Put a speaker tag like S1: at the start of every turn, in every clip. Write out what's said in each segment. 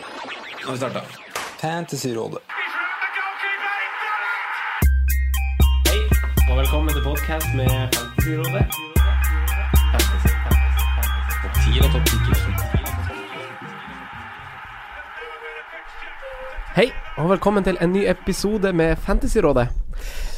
S1: Nå har vi starta. Fantasyrådet.
S2: Hei, og velkommen til podcast med Fantasyrådet. Fantasy, fantasy, fantasy. Topp 10 eller topp 10? Hei, og velkommen til en ny episode med Fantasyrådet.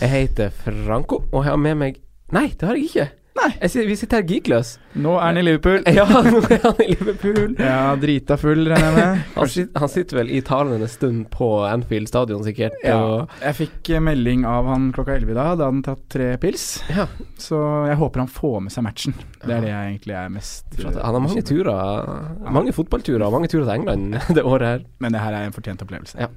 S2: Jeg heter Franco, og jeg har med meg Nei, det har jeg ikke.
S3: Nei.
S2: Jeg sitter, vi sitter her geekløs.
S3: Nå er han i Liverpool.
S2: Ja, nå er han i Liverpool.
S3: Ja, drita full, regner jeg med.
S2: Han, sit, han sitter vel i talen en stund på Anfield stadion, sikkert.
S3: Ja,
S2: Og,
S3: jeg fikk eh, melding av han klokka 11 i dag. Da hadde han tatt tre pils.
S2: ja,
S3: Så jeg håper han får med seg matchen. Det er det jeg egentlig er mest
S2: for at
S3: eh,
S2: han har mange turer. Mange fotballturer og mange turer til England det året her.
S3: Men det her er en fortjent opplevelse.
S2: Ja.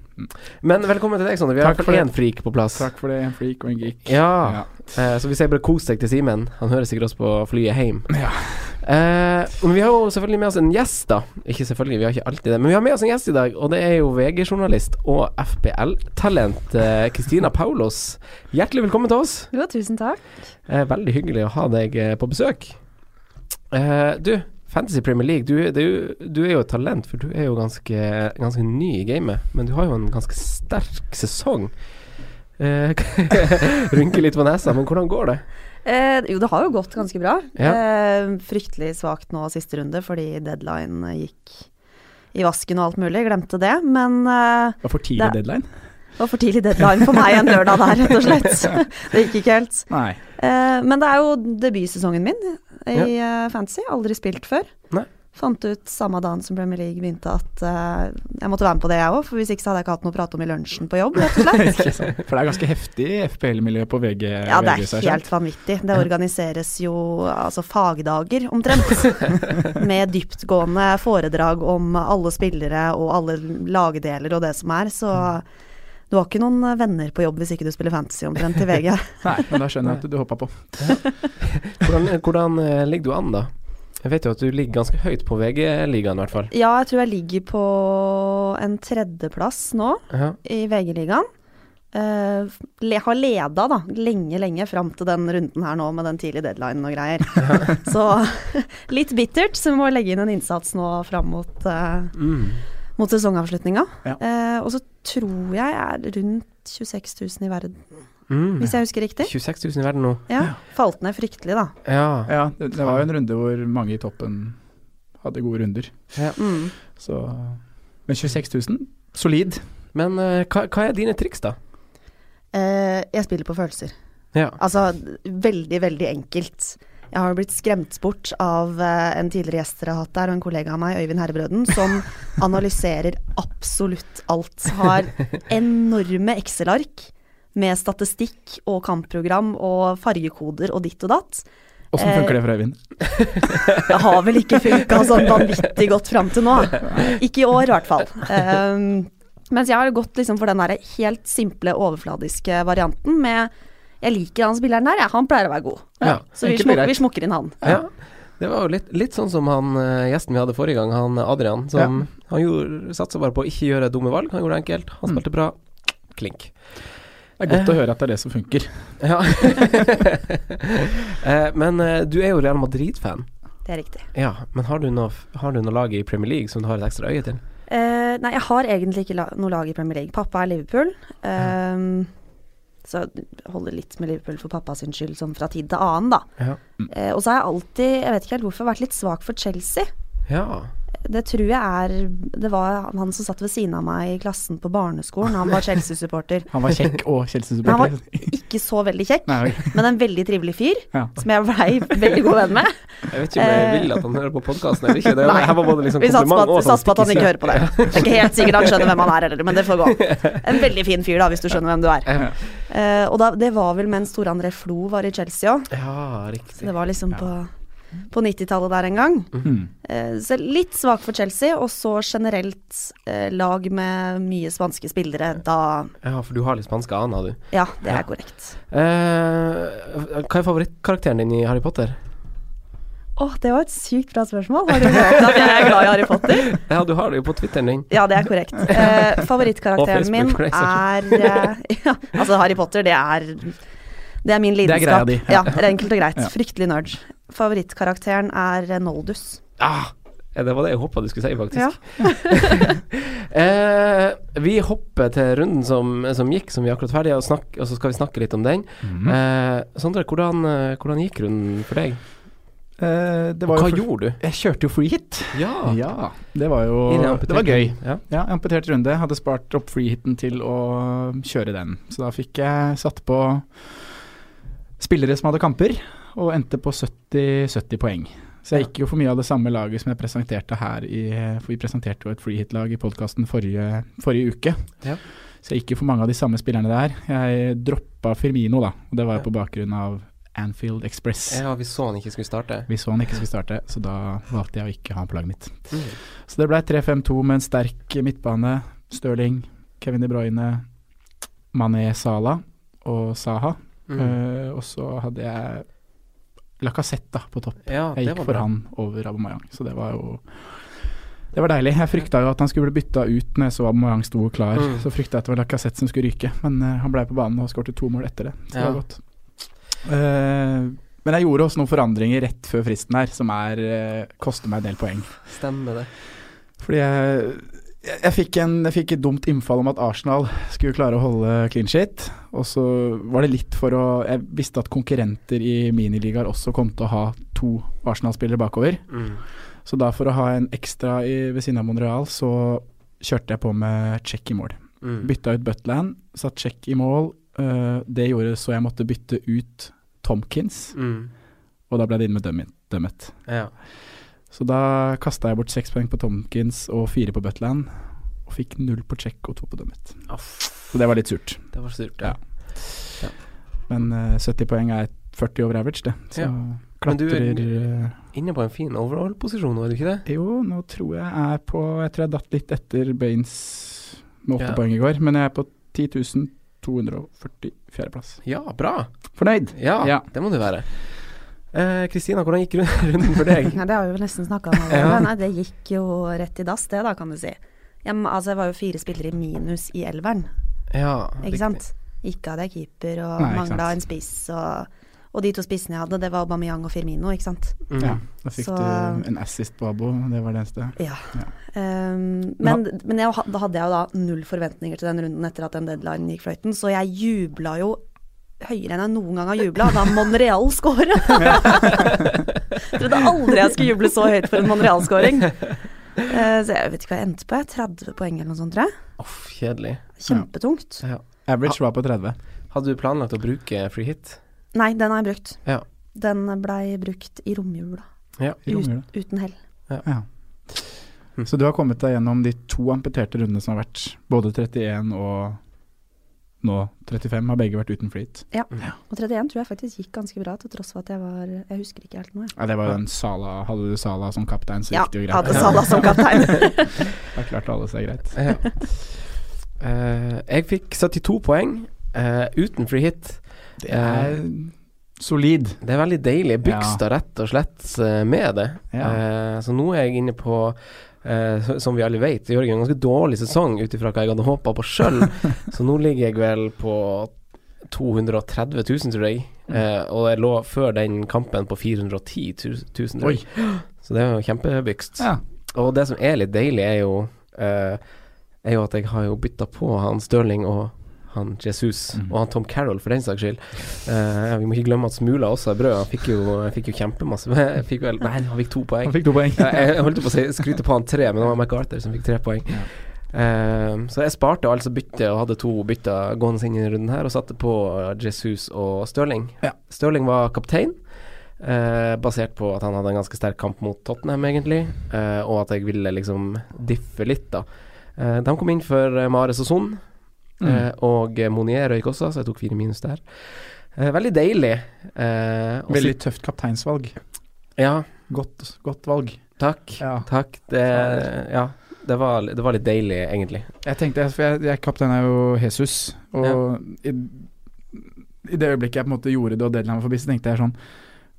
S2: Men velkommen til deg, Sander. Vi har
S3: Takk
S2: fått
S3: for det.
S2: én frik på plass.
S3: Takk for det, en freak og en geek.
S2: Ja. Eh, så vi sier bare kos deg til Simen. Han hører sikkert oss på flyet hjem.
S3: Ja.
S2: Eh, men vi har jo selvfølgelig med oss en gjest, da. Ikke selvfølgelig, vi har ikke alltid det. Men vi har med oss en gjest i dag, og det er jo VG-journalist og FBL-talent eh, Kristina Paulos. Hjertelig velkommen til oss.
S4: Jo, tusen takk.
S2: Eh, veldig hyggelig å ha deg eh, på besøk. Eh, du, Fantasy Premier League, du, du, du er jo et talent, for du er jo ganske, ganske ny i gamet. Men du har jo en ganske sterk sesong. Eh, Rynker litt på nesa, men hvordan går det?
S4: Eh, jo, det har jo gått ganske bra.
S2: Ja.
S4: Eh, fryktelig svakt nå siste runde fordi deadline eh, gikk i vasken og alt mulig. Glemte det. Men eh,
S3: Det var for tidlig
S4: Det-
S3: deadline?
S4: det var for tidlig deadline for meg en lørdag der, rett og slett. det gikk ikke helt.
S3: Nei.
S4: Eh, men det er jo debutsesongen min i eh, fantasy. Aldri spilt før.
S2: Nei.
S4: Fant ut samme dagen som Premier League begynte at eh, jeg måtte være med på det jeg òg, for hvis ikke så hadde jeg ikke hatt noe å prate om i lunsjen på jobb, rett og slett.
S3: Ikke sant. For det er ganske heftig FPL-miljø på VG.
S4: Ja, det
S3: VG, så
S4: er
S3: jeg skjønt.
S4: helt vanvittig. Det organiseres jo altså fagdager omtrent. Med dyptgående foredrag om alle spillere og alle lagdeler og det som er. Så du har ikke noen eh, venner på jobb hvis ikke du spiller fantasy omtrent i VG.
S3: Nei, men da skjønner jeg at du hoppa på.
S2: Hvordan, hvordan eh, ligger du an, da? Jeg vet jo at du ligger ganske høyt på VG-ligaen, i hvert fall.
S4: Ja, jeg tror jeg ligger på en tredjeplass nå
S2: Ja.
S4: i VG-ligaen. Eh, le, har leda da, lenge, lenge fram til den runden her nå med den tidlige deadlinen og greier. så litt bittert, så vi må legge inn en innsats nå fram mot, eh,
S2: Mm.
S4: mot sesongavslutninga.
S3: Ja.
S4: Eh, og så tror jeg jeg er rundt 26 000 i verden,
S2: Mm.
S4: hvis jeg husker riktig.
S2: 26 000 i verden nå.
S4: Ja, Falt ned fryktelig, da.
S2: Ja.
S3: Ja, det, det var jo en runde hvor mange i toppen hadde gode runder.
S4: Mm.
S3: Så Men 26 000, solid.
S2: Men eh, hva, hva er dine triks, da?
S4: Eh, jeg spiller på følelser.
S2: Ja.
S4: Altså veldig, veldig enkelt. Jeg har jo blitt skremt bort av eh, en tidligere gjest dere har hatt der, og en kollega av meg, Øyvind Herrebrøden, som analyserer absolutt alt. Har enorme Excel-ark med statistikk og kampprogram og fargekoder og ditt og datt.
S3: Åssen
S4: Eh,
S3: funker det for Øyvind?
S4: Det har vel ikke funka sånn vanvittig godt fram til nå. Ikke i år, i hvert fall. Um, mens jeg har gått liksom for den der helt simple, overfladiske varianten med Jeg liker han spilleren der, ja, han pleier å være god.
S2: Ja.
S4: Så vi,
S3: Enkelt og
S4: smuk,
S3: greit.
S4: vi smukker inn han.
S2: Ja. Det var jo litt, litt sånn som han eh, gjesten vi hadde forrige gang, han eh, Adrian. Som, Han gjorde, satsa bare på å ikke gjøre dumme valg. Han gjorde det enkelt. Han spilte bra. Klink.
S3: Det er godt
S4: eh.
S3: å høre at det er det som funker.
S2: Ja. Eh, men eh, du er jo Real Madrid-fan.
S4: Det er riktig.
S2: Ja, men har du noe, har du noe lag i Premier League som du har et ekstra øye til?
S4: Eh, nei, jeg har egentlig ikke la noe lag i Premier League. Pappa er Liverpool. Um, Så holder litt med Liverpool for pappa sin skyld, sånn fra tid til annen, da.
S2: Ja.
S4: Eh, og så har jeg alltid, jeg vet ikke helt hvorfor, vært litt svak for Chelsea.
S2: Ja.
S4: Det tror jeg er Det var han som satt ved siden av meg i klassen på barneskolen. Han var Chelsea-supporter.
S3: Han var kjekk og
S4: Men han
S3: Chelsea-supporter.
S4: var ikke så veldig kjekk,
S3: Nei, ok.
S4: men en veldig trivelig fyr.
S3: Ja.
S4: Som jeg blei veldig god venn med.
S2: Jeg vet ikke om jeg
S4: Eh.
S2: vil at han hører på podkasten eller ikke. Det
S4: Nei.
S2: her var både liksom
S4: Vi satser på,
S2: kompliment
S4: at,
S2: og sånn
S4: vi satser på at han ikke hører på det. Det er ikke helt sikkert han skjønner hvem han er heller, men det får gå. En veldig fin fyr, da, hvis du skjønner hvem du er.
S2: Ja.
S4: Eh, og da, det var vel mens Tore André Flo var i Chelsea òg.
S2: Ja, riktig.
S4: Det var liksom på, på 90-tallet der en gang.
S3: Mm.
S4: Eh, Så litt svak for Chelsea, og så generelt eh, lag med mye spanske spillere. Da
S2: Ja, for du har litt spanske aner, du.
S4: Ja, det
S2: Ja.
S4: er korrekt.
S2: Eh, hva er favorittkarakteren din i Harry Potter?
S4: Å, det var et sykt bra spørsmål. Har du hørt at jeg er glad i Harry Potter?
S2: Ja, du har det jo på Twitteren din.
S4: Ja, det er korrekt. Eh,
S2: Og
S4: favorittkarakteren
S2: Facebook,
S4: min
S2: for den
S4: er eh, ja, Altså, Harry Potter, det er Det er min
S3: er greia
S4: lidenskap.
S3: di.
S4: Ja, det er enkelt og greit.
S3: Ja.
S4: Fryktelig nerd. Favorittkarakteren er eh, Noldus.
S2: Ah, Ja, Det var det jeg håpa du skulle si, faktisk. eh, vi hopper til runden som, som gikk, som vi er akkurat ferdig, og, snakk, og så skal vi snakke litt om den.
S3: Mm.
S2: Eh, Sondre, hvordan, eh, hvordan gikk runden for deg?
S3: Eh, det var
S2: Hva
S3: jo for-
S2: gjorde du?
S3: Jeg kjørte jo free hit.
S2: Ja,
S3: Ja, det var
S2: i den
S3: jo
S2: amputerte-
S3: Det var gøy.
S2: Ja.
S3: Ja, amputert runde. Hadde spart opp free hiten til å kjøre den. Så da fikk jeg satt på spillere som hadde kamper, og endte på 70, 70 poeng. Så jeg gikk jo for mye av det samme laget som jeg presenterte her i For vi presenterte jo et free hit-lag i podkasten forrige, forrige uke.
S2: Ja.
S3: Så jeg gikk jo for mange av de samme spillerne der. Jeg droppa Firmino, da. Og det var
S2: Ja.
S3: jo på bakgrunn av Anfield Express.
S2: ja, vi så han ikke skulle starte.
S3: Vi så han ikke skulle starte, så da valgte jeg å ikke ha på laget mitt.
S2: Mm.
S3: Så det ble 3-5-2 med en sterk midtbane. Stirling, Kevin De Bruyne, Mané Sala og Saha.
S2: Mm.
S3: Eh, og så hadde jeg Lacassette da, på topp.
S2: Ja,
S3: Jeg
S2: det
S3: gikk
S2: var
S3: for
S2: bra.
S3: han over Aubameyang, så det var jo Det var deilig. Jeg frykta jo at han skulle bli bytta ut når jeg så Aubameyang sto klar.
S2: Mm.
S3: Så frykta jeg at det var Lacassette som skulle ryke, men eh, han blei på banen og skårte to mål etter det. Så det
S2: Ja.
S3: var godt. Eh, men jeg gjorde også noen forandringer rett før fristen her, som er eh, koster meg en del poeng.
S2: Stemmer det.
S3: Fordi jeg, jeg, jeg, fikk en, jeg fikk et dumt innfall om at Arsenal skulle klare å holde clean shit. Og så var det litt for å Jeg visste at konkurrenter i miniligaer også kom til å ha to Arsenal-spillere bakover.
S2: Mm.
S3: Så da for å ha en ekstra i, ved siden av Monreal, så kjørte jeg på med check i mål.
S2: Mm.
S3: Bytta ut Butland, satt check i mål. øh, det gjorde så jeg måtte bytte ut Tomkins,
S2: Mm.
S3: og da ble det inn med Dummet. Dummet.
S2: Ja.
S3: Så da kasta jeg bort seks poeng på Tomkins og fire på Butland. Og fikk null på check og to på Dummet.
S2: Aff,
S3: Så det var litt surt.
S2: det var surt. Ja.
S3: Ja. Men øh, 70 poeng er 40 over average, det. Så
S2: Ja. Men du er-
S3: klatrer øh,
S2: Inne på en fin overall-posisjon nå, er du ikke det?
S3: Jo, nå tror jeg er på Jeg tror jeg datt litt etter Baines med åtte
S2: Ja.
S3: poeng i går, men jeg er på 10.244. plass.
S2: Ja, bra.
S3: Fornøyd!
S2: Ja,
S3: Ja.
S2: det må du være. Eh, Kristina, hvordan gikk rund- runden for deg?
S4: Ja, det har vi vel nesten snakka om.
S2: Ja.
S4: Ja. Nei, det gikk jo rett i dass, det da, kan du si. Jeg, altså, jeg var jo fire spillere i minus i elveren,
S2: ja,
S4: ikke sant. Ikke hadde jeg keeper og
S3: Nei, ikke sant.
S4: mangla en spiss og og de to spissene jeg hadde, det var Aubameyang og Firmino, ikke sant.
S2: riktig. Mm.
S3: Ja, da fikk
S4: Så-
S3: du en assist på Abo, det var det eneste.
S4: Ja.
S3: Ja.
S4: Ehm, men men jeg, ha- da hadde jeg jo da null forventninger til den runden etter at den deadlinen gikk fløyten, så jeg jubla jo høyere enn jeg noen gang har jubla da Monreal scora! Trodde aldri jeg skulle juble så høyt for en Monreal-scoring. Eh, så jeg vet ikke hva jeg endte på, jeg. 30 poeng eller noe sånt, tror jeg.
S2: Uff, kjedelig.
S4: Kjempetungt.
S2: Ja.
S3: Average var på 30.
S2: Hadde du planlagt å bruke free hit?
S4: Nei, den har jeg brukt.
S2: Ja.
S4: Den blei brukt i romjula,
S3: i romjula.
S4: uten hell.
S3: Ja. Så du har kommet deg gjennom de to amputerte rundene som har vært. Både 31 og nå 35 har begge vært uten flyt.
S4: Og 31 tror jeg faktisk gikk ganske bra, til tross for at jeg var Jeg husker ikke helt nå, jeg.
S3: Ja, det var jo den Sala, Hadde du Sala som kaptein, så
S4: Ja,
S3: gikk det jo greit.
S4: hadde Salah som kaptein.
S3: Da klarte alle seg greit.
S2: Ja. Eh, jeg fikk 72 poeng eh, uten free hit.
S3: Det er solid.
S2: Det er veldig deilig. Bygstad rett og slett eh, med det.
S3: Ja.
S2: Eh, så nå er jeg inne på eh, så- som vi alle vet, Jørgen, en ganske dårlig sesong ut ifra hva jeg hadde håpa på sjøl. så nå ligger jeg vel på 230 000, tror jeg.
S3: Mm.
S2: Eh, og jeg lå før den kampen på 410 000, tror
S3: Oi.
S2: jeg. Så det er jo kjempebygst.
S3: Ja.
S2: Og det som er litt deilig, er jo eh, Er jo at jeg har jo bytta på han Stirling og han Jesus,
S3: Mhm.
S2: og han Tom Carroll for den saks skyld. Eh, vi må ikke glemme at Smula også er brød. Han fikk jo, han fikk jo kjempemasse Jeg fikk vel, Nei, han fikk to poeng.
S3: Han fikk to poeng.
S2: Ja, jeg jeg holdt på å si- skryte på han tre, men det var MacArthur som fikk tre poeng.
S3: Ja.
S2: Eh, så jeg sparte altså byttet og hadde to bytter gående inn i runden her, og satte på eh, Jesus og Stirling.
S3: Ja.
S2: Stirling var kaptein, eh, basert på at han hadde en ganske sterk kamp mot Tottenham, egentlig, eh, og at jeg ville liksom diffe litt, da. Eh, de kom inn for eh, Mares og Son,
S3: Mm.
S2: eh, og eh, Monier røyk også, så jeg tok fire minus der. Eh, veldig deilig. Eh, og
S3: Veldig tøft kapteinsvalg.
S2: sitt- Ja,
S3: Godt, godt valg.
S2: takk.
S3: Ja.
S2: Takk. Det,
S3: Fader.
S2: ja, det, var, det var litt deilig, egentlig.
S3: Jeg tenkte, for jeg, jeg kaptein er jo Jesus, og i, i det øyeblikket jeg på en måte gjorde det og deadline var forbi, så tenkte jeg sånn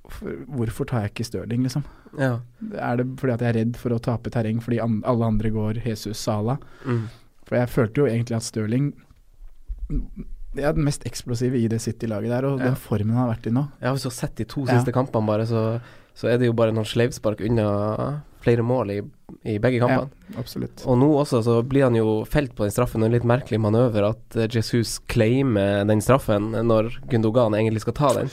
S3: "Hvorfor- Hvorfor tar jeg ikke Stirling, liksom?
S2: Ja.
S3: Er det fordi at jeg er redd for å tape terreng fordi an, alle andre går Jesus Sala?
S2: Mm.
S3: For jeg følte jo egentlig at Stirling det er den mest eksplosive i det City-laget der, og
S2: Ja.
S3: den formen han har vært i nå.
S2: ja hvis du har sett de to
S3: Ja.
S2: siste kampene, bare, så, så er det jo bare noen sleivspark unna flere mål i, i begge kampene.
S3: Absolutt.
S2: Og nå også så blir han jo felt på den straffen, og en litt merkelig manøver at eh, Jesus claimer den straffen når Gundogan egentlig skal ta den.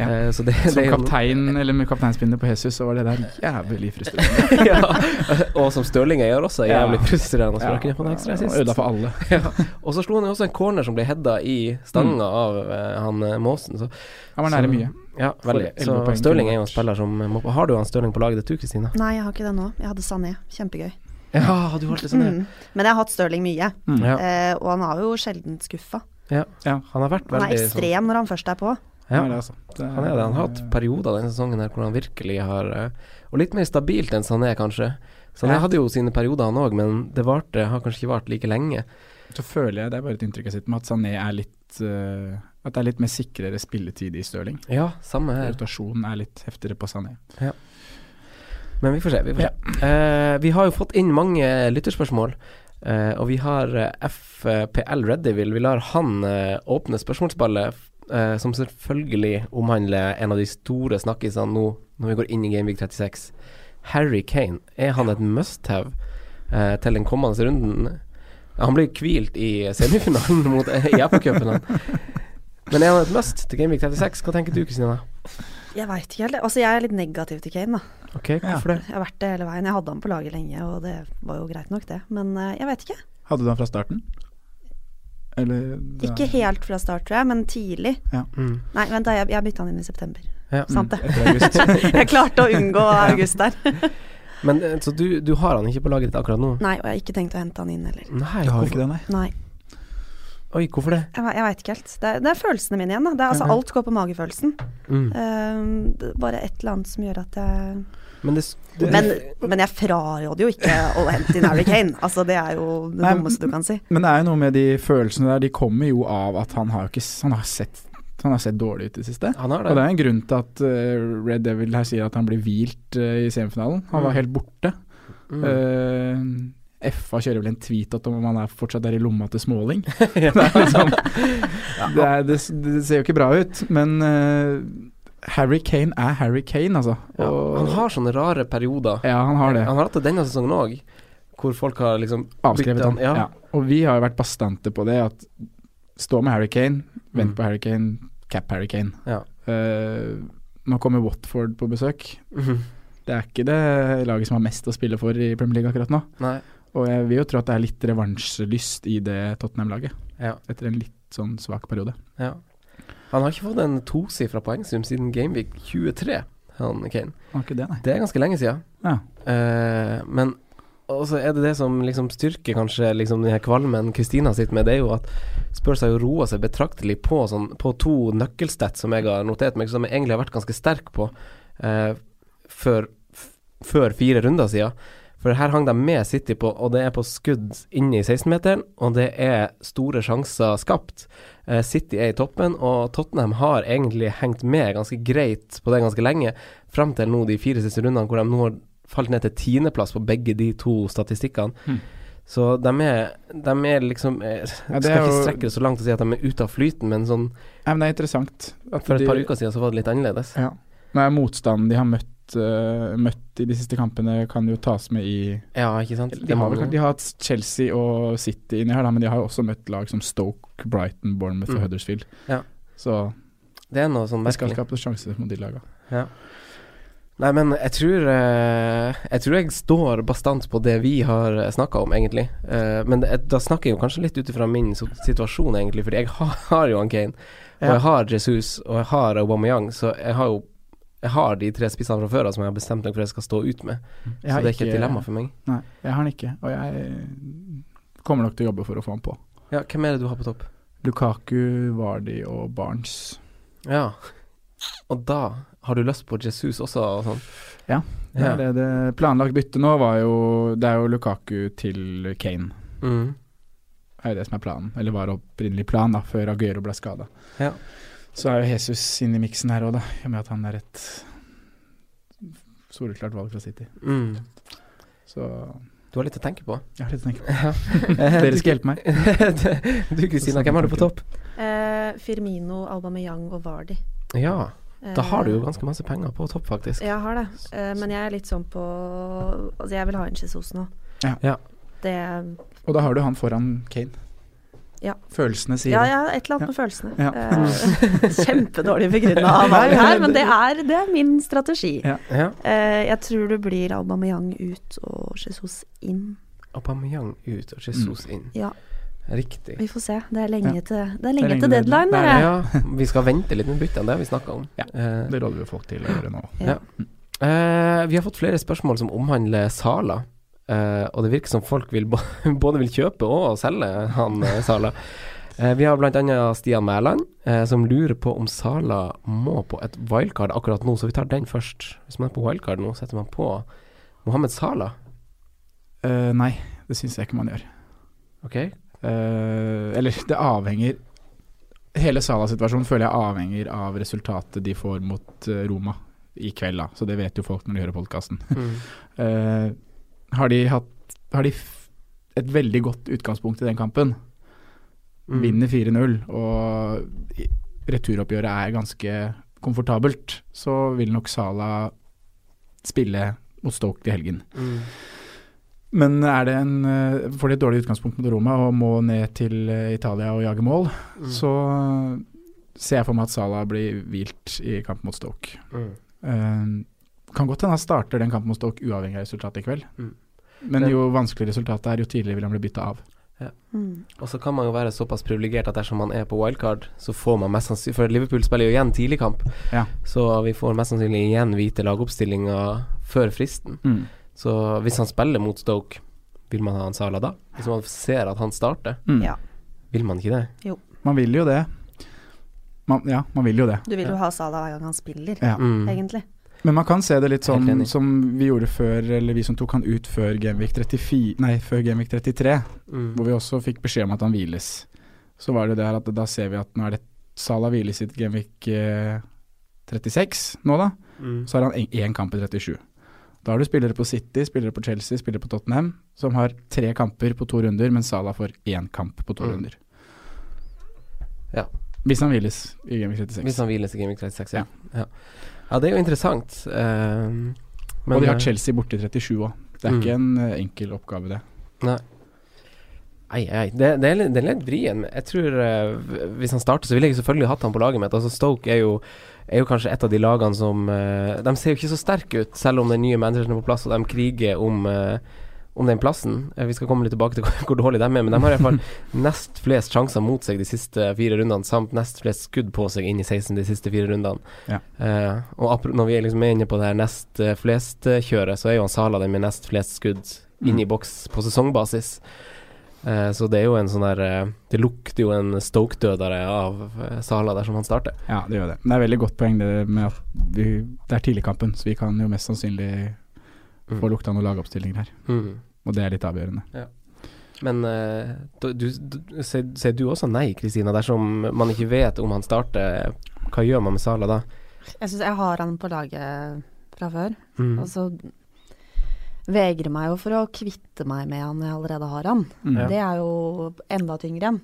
S3: Ja.
S2: Eh, så det,
S3: Som
S2: det er jo-
S3: kaptein, eller med kapteinspinnet på Jesus, så var det der jævlig frustrerende.
S2: ja. Og som Stirling gjør også,
S3: Ja.
S2: jævlig frustrerende. Så
S3: Ja.
S2: han kunne få en ekstra assist.
S3: Ødela for alle.
S2: ja. Og så slo han jo også en corner som ble hedda i stanga av eh, han eh, Maasen. Så,
S3: Han var nære
S2: Så-
S3: mye.
S2: ja,
S3: For
S2: veldig.
S3: 11
S2: Så
S3: poeng
S2: Stirling
S3: kunne
S2: er jo en
S3: vært-
S2: spiller som må, Har du han Stirling på laget ditt, du, Kristina?
S4: Nei, jeg har ikke det nå. Jeg hadde Sané. Kjempegøy.
S2: Ja, du har alltid sånn,
S4: Mm. Men jeg har hatt Stirling mye,
S3: Mm.
S2: ja. ja.
S4: eh, og han har jo sjelden skuffa.
S2: Han har vært
S4: Han er
S2: veldig sånn
S4: ekstrem når han først er på.
S2: ja.
S3: Han er det, altså. Det
S2: Han er det. Han har hatt perioder denne sesongen her hvor han virkelig har eh, Og litt mer stabilt enn Sané, kanskje. Sané
S3: Ja.
S2: hadde jo sine perioder, han òg, men det varte, har kanskje ikke vart like lenge.
S3: Så føler jeg, det er bare et inntrykk jeg sitter med, at Sané er litt eh, At det er litt mer sikrere spilletid i Stirling.
S2: Ja, samme her.
S3: Rotasjonen er litt heftigere på Sané.
S2: Men vi får se. Vi, får se. Eh, vi har jo fått inn mange lytterspørsmål. eh, og vi har eh, FPL Redivil. Vi lar han eh, åpne spørsmålsballet, eh, som selvfølgelig omhandler en av de store snakkisene nå når vi går inn i Gameweek 36. Harry Kane, er han et must-have eh, til den kommende runden? Han ble hvilt i semifinalen mot eh, EFA-cupen. Men er han et must til Gameweek 36? Hva tenker du, Kristina?
S4: Jeg veit ikke helt. Altså, jeg er litt negativ til Kane, da.
S2: Ok, hvorfor det?
S4: Jeg har vært det hele veien. Jeg hadde han på laget lenge, og det var jo greit nok, det. Men eh, jeg veit ikke.
S3: Hadde du han fra starten? Eller da-
S4: Ikke helt fra start, tror jeg, men tidlig.
S2: Mm.
S4: Nei, vent da, jeg, jeg bytta han inn i september.
S2: Ja.
S4: Sant det.
S3: Mm, etter august.
S4: Jeg klarte å unngå august der.
S2: Men eh, så du, du har han ikke på laget ditt akkurat nå?
S4: Nei, og jeg har ikke tenkt å hente han inn heller.
S2: Nei,
S3: Du har
S2: hvorfor-
S3: ikke det, nei?
S4: Nei,
S2: Oi, hvorfor det?
S4: jeg, ve- jeg veit ikke helt. Det er, det er følelsene mine igjen, da. Det er, altså,
S3: Mhm.
S4: alt går på magefølelsen.
S2: Mm.
S4: Ehm, det er bare et eller annet som gjør at jeg
S2: Men det, s- det
S4: Men, men jeg fraråder jo ikke å hente inn Harry Kane. Altså, det er jo det
S3: Nei,
S4: dummeste du kan si.
S3: Men det er jo noe med de følelsene der, de kommer jo av at han har jo ikke s- Han har sett, han har sett dårlig ut i det siste.
S2: Han har
S3: Og det
S2: det.
S3: er en grunn til at eh, Red Devil her sier at han blir hvilt eh, i semifinalen. Han var
S2: Mm.
S3: helt borte.
S2: Mm.
S3: Eh, FA kjører vel en tweet at om han er fortsatt er i lomma til Småling.
S2: Ja.
S3: det, er liksom, det, er, det, s- det ser jo ikke bra ut, men eh, Harry Kane er Harry Kane, altså.
S2: ja.
S3: Og-
S2: Han har sånne rare perioder.
S3: ja, han har det.
S2: Han har hatt det denne sesongen òg, hvor folk har liksom
S3: Avskrevet
S2: byttet
S3: han.
S2: Ja.
S3: Ja. Og vi har jo vært bastante på det, at stå med Harry Kane, vent
S2: Mm.
S3: på Harry Kane, cap Harry Kane.
S2: Ja.
S3: Eh, nå kommer Watford på besøk.
S2: Mhm.
S3: Det er ikke det laget som har mest å spille for i Premier League akkurat nå.
S2: Nei.
S3: Og jeg vil jo tro at det er litt revansjelyst i det Tottenham-laget,
S2: Ja.
S3: etter en litt sånn svak periode.
S2: ja. Han har ikke fått en tosifra poengsum siden Gameweek 23, han Kane.
S3: Var ikke det, nei.
S2: Det er ganske lenge siden.
S3: Ja.
S2: Eh, men og så er det det som liksom styrker kanskje liksom den her kvalmen Kristina sitter med, det er jo at Spurs har jo roa seg betraktelig på, sånn, på to nøkkelstats som jeg har notert meg, som jeg egentlig har vært ganske sterk på eh, før, f før fire runder siden. For her hang de med City på, og det er på skudd inne i 16-meteren, og det er store sjanser skapt. Eh, City er i toppen, og Tottenham har egentlig hengt med ganske greit på det ganske lenge, fram til nå de fire siste rundene, hvor de nå har falt ned til tiendeplass på begge de to statistikkene.
S3: Mm.
S2: Så de er, de er liksom eh,
S3: Ja, det
S2: Skal
S3: er
S2: ikke
S3: jo-
S2: strekke det så langt å si at de er ute av flyten, men sånn
S3: Nei, men det er interessant. At
S2: for et
S3: de-
S2: par uker siden så var det litt annerledes.
S3: Ja. Nei, motstanden de har møtt, eh, møtt i de siste kampene, kan jo tas med i
S2: Ja, ikke sant?
S3: De har, vel, kanskje- de har hatt Chelsea og City inni her, da, men de har jo også møtt lag som Stoke, Brighton, Bournemouth og
S2: Mm.
S3: Huddersfield.
S2: Ja.
S3: Så
S2: det er noe sånn
S3: det skal
S2: merkelig.
S3: skapes sjanser mot de laga.
S2: Nei, men jeg tror eh, Jeg tror jeg står bastant på det vi har snakka om, egentlig. Eh, men det, da snakker jeg jo kanskje litt ut ifra min so- situasjon, egentlig, fordi jeg har, har jo han Kane, og
S3: Ja.
S2: jeg har Jesus, og jeg har Aubameyang, så jeg har jo Jeg har de tre spissene fra før av som jeg har bestemt meg for at jeg skal stå ut med. Så det er ikke et dilemma for meg.
S3: Nei, jeg har den ikke, og jeg kommer nok til å jobbe for å få han på.
S2: Ja, hvem er det du har på topp?
S3: Lukaku, Vardi og Barnes.
S2: Ja. Og da har du lyst på Jesus også og sånn?
S3: Ja, Det
S2: Ja.
S3: er det, det planlagt bytte nå var jo Det er jo Lukaku til Kane.
S2: Mm.
S3: Det er jo det som er planen, eller var opprinnelig plan, da, før Aguero ble skada.
S2: Ja.
S3: Så er jo Jesus inne i miksen her òg, da, i og med at han er et soleklart valg fra City.
S2: Mm.
S3: Så
S2: Du har litt å tenke på.
S3: jeg har litt å tenke på.
S2: Dere
S3: Dere skal hjelpe meg.
S2: du Kristina, hvem har du på topp?
S4: Eh, Firmino, Aubameyang og Vardi.
S2: Ja, Da har
S4: Eh.
S2: du jo ganske masse penger på topp, faktisk.
S4: Jeg har det, Eh, men jeg er litt sånn på Altså, jeg vil ha en Jesus nå.
S3: Ja.
S2: Ja.
S4: Det
S3: Og da har du han foran Kane.
S4: Ja.
S3: Følelsene sier
S4: Ja,
S3: det.
S4: ja, et eller annet med følelsene.
S3: Ja.
S4: Eh, kjempedårlig begrunna valg her, men det er, det er min strategi.
S3: Ja.
S2: Ja.
S4: Eh, jeg tror det blir Aubameyang ut og Jesus inn.
S2: Aubameyang ut og Jesus inn.
S4: Ja,
S2: Riktig.
S4: vi får se. Det er lenge
S3: Ja.
S4: til, det er lenge
S3: lenge
S4: til
S3: til deadline.
S4: deadline. dere.
S2: Ja, vi skal vente litt med byttene, det har vi snakka om.
S3: Ja.
S2: Eh,
S3: Det råder vi folk til å gjøre nå.
S4: Ja.
S2: Eh, vi har fått flere spørsmål som omhandler Sala. Eh, og det virker som folk vil bo- både vil kjøpe og selge han eh, Sala. Eh, vi har bl.a. Stian Mæland, eh, som lurer på om Sala må på et wildcard akkurat nå, så vi tar den først. Hvis man er på wildcard nå, setter man på Mohammed Sala.
S3: Eh, nei, det syns jeg ikke man gjør.
S2: Ok?
S3: Eh, eller, det avhenger Hele Salah-situasjonen føler jeg avhenger av resultatet de får mot eh, Roma i kveld, da. Så det vet jo folk når de hører podkasten.
S2: Mm.
S3: Eh, har de hatt Har de f et veldig godt utgangspunkt i den kampen?
S2: Mm.
S3: Vinner 4-0, og i- returoppgjøret er ganske komfortabelt, så vil nok Salah spille mot Stoke til helgen.
S2: Mm.
S3: Men er det en, eh, får de et dårlig utgangspunkt mot Roma og må ned til eh, Italia og jage mål, så eh, ser jeg for meg at Salah blir hvilt i kamp mot Stoke.
S2: Mm.
S3: Eh, kan godt hende han starter den kampen mot Stoke uavhengig av resultatet i kveld.
S2: Mm.
S3: Men jo vanskeligere resultatet er, jo tidligere vil han bli bytta av.
S4: Mm.
S2: Og så kan man jo være såpass privilegert at dersom man er på wildcard, så får man mest sannsynlig For Liverpool spiller jo igjen tidligkamp,
S3: Ja.
S2: så vi får mest sannsynlig igjen vite lagoppstillinga før fristen. Så hvis han spiller mot Stoke, vil man ha han Sala da? Hvis man ser at han starter,
S3: Mm.
S4: Ja.
S2: vil man ikke det?
S3: Man vil jo det. Man, ja, man vil jo det.
S4: Du vil jo ha Salah hver gang han spiller,
S3: Ja.
S2: Mm.
S4: egentlig.
S3: Men man kan se det litt
S2: Helt
S3: sånn
S2: enig.
S3: som vi gjorde før, eller vi som tok han ut før Genvik 34, nei, før Genvik 33,
S2: Mm.
S3: hvor vi også fikk beskjed om at han hviles. Så var det der at da ser vi at nå er det Salah hviles i Genvik eh, 36 nå, da.
S2: Mm.
S3: Så har han en- én kamp i 37. Da har du spillere på City, spillere på Chelsea, spillere på Tottenham som har tre kamper på to runder, mens Salah får én kamp på to
S2: Mm.
S3: runder.
S2: Ja.
S3: Hvis han hviles i Genvik 36.
S2: Hvis han hviles i Gaming 36, ja. ja. Ja, det er jo interessant. ehm, men-
S3: og de har Chelsea borte i 37 òg. Det er
S2: Mm.
S3: ikke en eh, enkel oppgave, det.
S2: Nei, nei, det, det, er litt, det er litt vrien. Jeg tror eh, v- Hvis han starter, så ville jeg selvfølgelig hatt han på laget mitt. Altså Stoke er jo, er jo kanskje et av de lagene som eh, De ser jo ikke så sterke ut, selv om den nye manageren er på plass og de kriger om eh, om den plassen. Eh, Vi skal komme litt tilbake til hvor hvor dårlig de er, men de har i hvert fall nest flest sjanser mot seg de siste fire rundene, samt nest flest skudd på seg inn i 16 de siste fire rundene.
S3: Ja.
S2: Eh, og apro- når vi er liksom inne på det her nest eh, flest-kjøret, så er jo han Sala den med nest flest skudd inn i boks på sesongbasis. Eh, Så det er jo en sånn der eh, Det lukter jo en Stoke-dødere av eh, Sala dersom han starter.
S3: Ja, det gjør det. Men det er veldig godt poeng det med at vi, det er tidligkampen, så vi kan jo mest sannsynlig
S2: Mm.
S3: få lukta noen lagoppstillinger her. Og det er litt avgjørende.
S2: Men eh, du, du, du- sier sier du også nei, Kristina, dersom man ikke vet om han starter? Hva gjør man med Sala da?
S4: Jeg syns jeg har han på laget fra før,
S2: Mm.
S4: og så vegrer meg jo for å kvitte meg med han når jeg allerede har han.
S2: Ja.
S4: Mm. Det er jo enda tyngre igjen.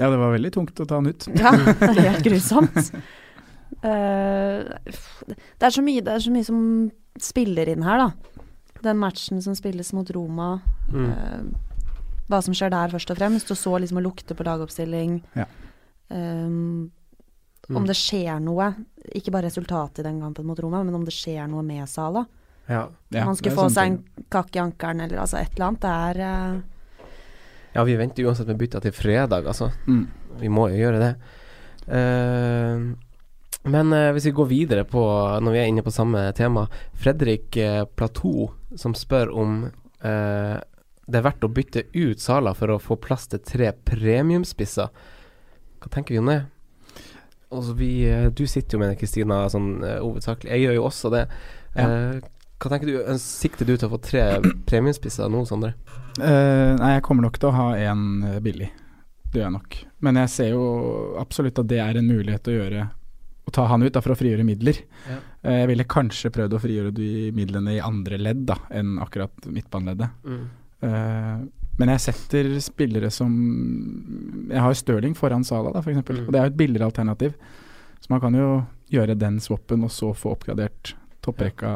S3: Ja, det var veldig tungt å ta han ut.
S4: Ja, det er helt grusomt. Eh, f- det, er så mye, det er så mye som spiller inn her, da. Den matchen som spilles mot Roma.
S2: Mm.
S4: eh, hva som skjer der, først og fremst. Og så liksom å lukte på lagoppstilling.
S3: Ja.
S4: Um, om
S2: Mm.
S4: det skjer noe, ikke bare resultatet i den kampen mot Roma, men om det skjer noe med Sala.
S2: Ja.
S4: Om
S3: Ja,
S4: han
S3: det
S4: skulle
S3: er
S4: få
S3: sånne
S4: seg en
S3: ting.
S4: kakk i ankelen eller altså et eller annet. Det er eh,
S2: ja, vi venter uansett med bytta til fredag, altså.
S3: mm.
S2: Vi må jo gjøre det. Eh, men eh, hvis vi går videre på, når vi er inne på samme tema Fredrik eh, Platou som spør om eh, det er verdt å bytte ut Sala for å få plass til tre premiumspisser. Hva tenker vi om det? Altså, vi, eh, du sitter jo med det, Kristina, sånn eh, hovedsakelig. Jeg gjør jo også det.
S3: Ja.
S2: Eh, hva tenker du? Eh, Sikter du til å få tre premiumspisser nå, Sondre?
S3: Eh, nei, jeg kommer nok til å ha en eh, billig. Det gjør jeg nok. Men jeg ser jo absolutt at det er en mulighet å gjøre å ta han ut da, for å frigjøre midler.
S2: Ja.
S3: Eh, jeg ville kanskje prøvd å frigjøre de midlene i andre ledd da, enn akkurat midtbaneleddet. Eh, men jeg setter spillere som Jeg har jo Stirling foran Sala, da, f.eks.
S2: Mm.
S3: Og det er jo et billigere alternativ. Så man kan jo gjøre den swappen, og så få oppgradert topprekka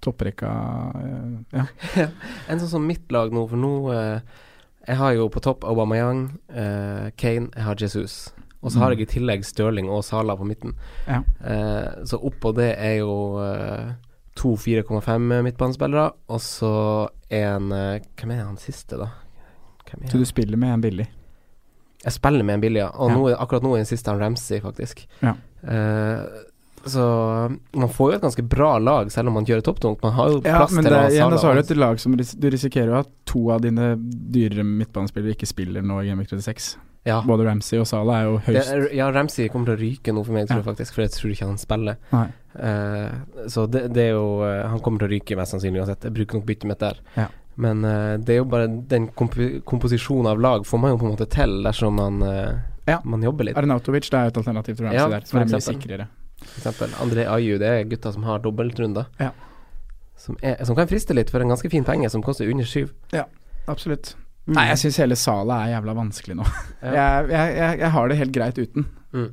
S3: Topprekka eh, Ja.
S2: En sånn som mitt lag nå, for nå eh, Jeg har jo på topp Aubameyang, eh, Kane, jeg har Jesus. Og så har jeg i tillegg Stirling og Sala på midten.
S3: Mm. Ja.
S2: Eh, så oppå det er jo eh, to 4,5 midtbanespillere, og så en eh, Hvem er han siste, da? Hvem er
S3: Så du
S2: han?
S3: spiller med en billig.
S2: Jeg spiller med en billig, ja. Og
S3: Ja.
S2: nå er- akkurat nå er den siste han Ramsey, faktisk.
S3: Ja.
S2: Eh, så man får jo et ganske bra lag, selv om man gjør det topptungt. Man har jo
S3: Ja,
S2: plass
S3: men
S2: til
S3: det,
S2: å ha
S3: igjen, da
S2: Salah
S3: så har du
S2: og-
S3: et lag som ris du risikerer jo at to av dine dyrere midtbanespillere ikke spiller nå i Game Week 36.
S2: ja.
S3: Både Ramsey og Salah er jo
S2: Det
S3: høyst
S2: er, ja, Ramsey kommer til å ryke nå for meg, tror jeg
S3: Ja.
S2: faktisk, for jeg tror ikke han spiller.
S3: Nei.
S2: Eh, så det, det er jo eh, Han kommer til å ryke mest sannsynlig uansett. Jeg bruker nok byttet mitt der.
S3: Ja.
S2: Men eh, det er jo bare den komp- komposisjonen av lag får man jo på en måte til dersom man, eh,
S3: Ja.
S2: man jobber litt.
S3: Arnautovic det er jo et alternativ til Ramsey
S2: Ja,
S3: der, som er
S2: for
S3: mye
S2: eksempel.
S3: sikrere.
S2: For eksempel André Ayu, det er gutter som har dobbeltrunder.
S3: Ja.
S2: Som, er, som kan friste litt for en ganske fin penge, som koster under syv.
S3: Absolutt. Nei, jeg syns hele Sala er jævla vanskelig nå.
S2: Ja.
S3: Jeg, jeg, jeg, jeg har det helt greit uten.
S2: Mm.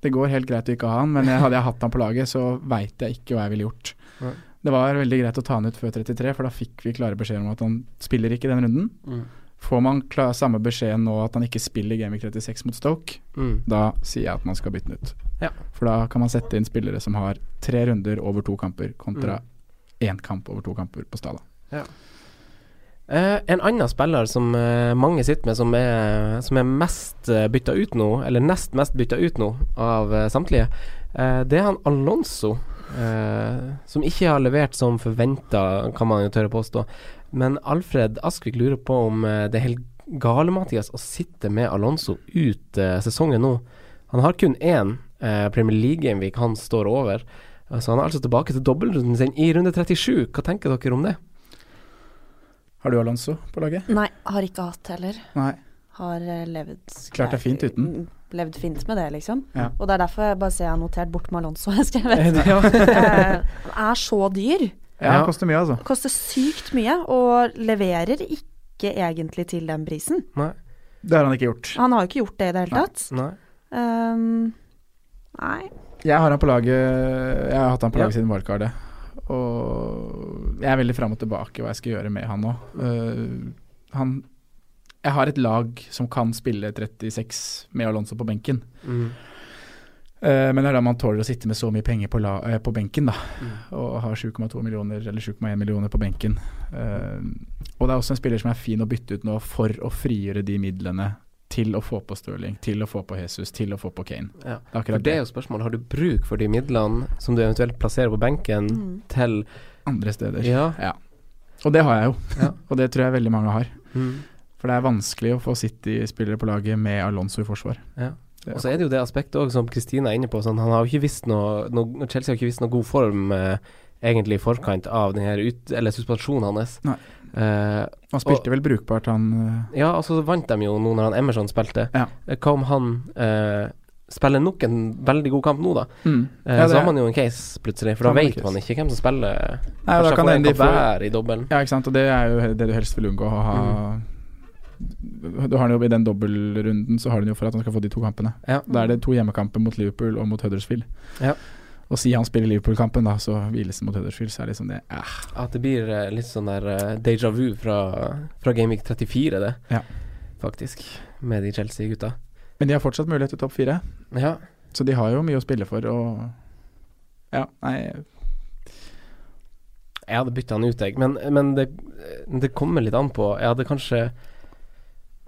S3: Det går helt greit å ikke ha han, men jeg, hadde jeg hatt han på laget, så veit jeg ikke hva jeg ville gjort.
S2: Nei.
S3: Det var veldig greit å ta han ut før 33, for da fikk vi klare beskjed om at han spiller ikke den runden.
S2: Mm.
S3: Får man kla- samme beskjed nå at han ikke spiller Gaming 36 mot Stoke,
S2: Mm.
S3: da sier jeg at man skal bytte den ut.
S2: Ja.
S3: For da kan man sette inn spillere som har tre runder over to kamper, kontra én kamp over to kamper på Stala.
S2: Eh, en annen spiller som eh, mange sitter med, som er, som er mest eh, bytta ut nå, eller nest mest bytta ut nå av eh, samtlige, eh, det er han Alonso. eh, som ikke har levert som forventa, kan man jo tørre påstå. Men Alfred Askvik lurer på om eh, det er helt gale, Mathias, å sitte med Alonso ut eh, sesongen nå. Han har kun én eh, Premier League-gameweek han står over. Eh, Så han er altså tilbake til dobbeltrunden sin i runde 37. Hva tenker dere om det?
S3: Har du Alonso på laget?
S4: Nei, har ikke hatt heller.
S3: Nei.
S4: Har eh, levd
S3: Klart det er fint uten.
S4: Mm, Levd fint med det, liksom.
S3: Ja.
S4: Og det er derfor jeg bare ser jeg har notert bort med Alonso, jeg har skrevet.
S2: Ja.
S4: Eh, Han er så dyr.
S3: Ja,
S2: Ja.
S3: det koster mye, altså.
S4: Koster sykt mye, og leverer ikke egentlig til den prisen.
S2: Nei.
S3: Det har han ikke gjort.
S4: Han har jo ikke gjort det i det hele tatt.
S2: Nei.
S4: Ehm, nei.
S3: Jeg har han på laget Jeg har hatt han på
S2: Ja.
S3: laget siden wildcardet. Og jeg er veldig fram og tilbake hva jeg skal gjøre med han nå. Øh, han Jeg har et lag som kan spille 36 med Alonso på benken.
S2: Mm.
S3: Eh, men det er da man tåler å sitte med så mye penger på, la, eh, på benken, da.
S2: Mm.
S3: Og har 7,2 millioner eller 7,1 millioner på benken. Eh, og det er også en spiller som er fin å bytte ut nå for å frigjøre de midlene til å få på Stirling, til å få på Jesus, til å få på Kane.
S2: Ja.
S3: Det er
S2: For det
S3: akkurat det.
S2: er jo spørsmålet. Har du bruk for de midlene som du eventuelt plasserer på benken
S3: Mm.
S4: Mm.
S2: til
S3: Andre steder.
S2: Ja.
S3: Og det har jeg jo,
S2: Ja.
S3: og det tror jeg veldig mange har.
S2: Mm.
S3: For det er vanskelig å få City-spillere på laget med Alonso i forsvar.
S2: Ja.
S3: Det-
S2: Og så er det jo det aspektet òg som Kristina er inne på. Sånn, han har jo ikke visst noe, noe Chelsea har ikke visst noe god form eh, egentlig i forkant av den her ut, eller suspensjonen hans.
S3: Nei.
S2: Eh,
S3: han spilte vel brukbart, han øh,
S2: ja, og så vant de jo nå når han Emerson spilte.
S3: Ja.
S2: Eh, Hva om han eh, spiller nok en veldig god kamp nå, da? Eh,
S3: Ja, det
S2: så har
S3: er-
S2: man jo en case, plutselig. For
S3: Da
S2: da
S3: har man en
S2: vet
S3: case.
S2: man ikke hvem som spiller.
S3: Nei, da
S2: Kanskje
S3: kan
S2: får
S3: det
S2: en
S3: hende de får
S2: Gobert i dobbelen.
S3: Ja, ikke sant. Og det er jo det du helst vil unngå å ha
S2: Mm.
S3: Du har han jo i den dobbeltrunden, så har du han jo for at han skal få de to kampene.
S2: Ja.
S3: Da er det to hjemmekamper mot Liverpool og mot Huddersfield.
S2: Mm. Ja.
S3: Og si han spiller Liverpool-kampen, da, så hviles det mot Huddersfield, så er det liksom det eh.
S2: At det blir eh, litt sånn der eh, déjà vu fra, fra Gameweek 34, det.
S3: Ja.
S2: Faktisk. Med de Chelsea-gutta.
S3: Men de har fortsatt mulighet til topp fire,
S2: Ja.
S3: så de har jo mye å spille for og Ja, nei
S2: Jeg hadde bytta han ut, jeg. Men, men det, eh, det kommer litt an på. Jeg hadde kanskje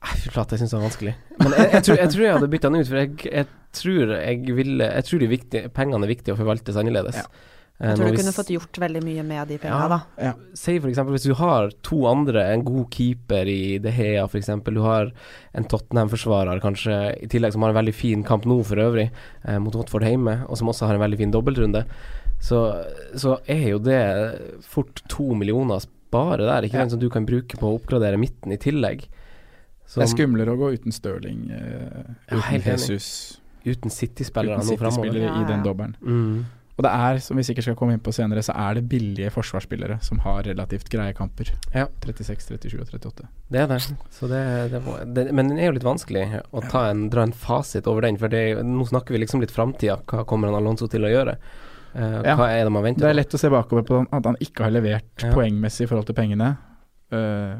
S2: Nei, Fy flate, jeg syns det var vanskelig. Men jeg, jeg, tror, jeg tror jeg hadde bytta han ut, for jeg, jeg tror jeg ville Jeg tror de viktige, pengene er viktige å forvaltes annerledes.
S3: Ja.
S2: Eh,
S4: Jeg tror
S2: når
S4: du
S2: vi
S4: kunne
S2: s-
S4: fått gjort veldig mye med de
S2: Ja.
S4: penga, da.
S2: Si for eksempel hvis du har to andre, en god keeper i De Hea for eksempel, du har en Tottenham-forsvarer kanskje, i tillegg som har en veldig fin kamp nå for øvrig, eh, mot Watford hjemme, og som også har en veldig fin dobbeltrunde, så, så er jo det fort to millioner bare der, ikke
S3: Ja.
S2: sant, som du kan bruke på å oppgradere midten i tillegg. Som,
S3: Det er skumlere å gå uten Stirling, eh,
S2: Ja,
S3: uten
S2: helt enig.
S3: Jesus,
S2: uten City-spillere
S3: uten
S2: nå framover.
S3: City-spillere
S4: Ja,
S3: i den
S4: ja.
S3: dobbelen.
S2: Mm.
S3: Og det er, som vi sikkert skal komme inn på senere, så er det billige forsvarsspillere som har relativt greie kamper.
S2: Ja.
S3: 36, 37 og 38.
S2: Det er det. Så det, det må, det, men den er jo litt vanskelig å ta en, dra en fasit over den, for det, er jo- nå snakker vi liksom litt framtida. Hva kommer han Alonso til å gjøre? Eh,
S3: Ja.
S2: Hva er det man venter
S3: Det er
S2: på?
S3: lett å se bakover på han- at han ikke har levert
S2: Ja.
S3: poengmessig i forhold til pengene. Eh,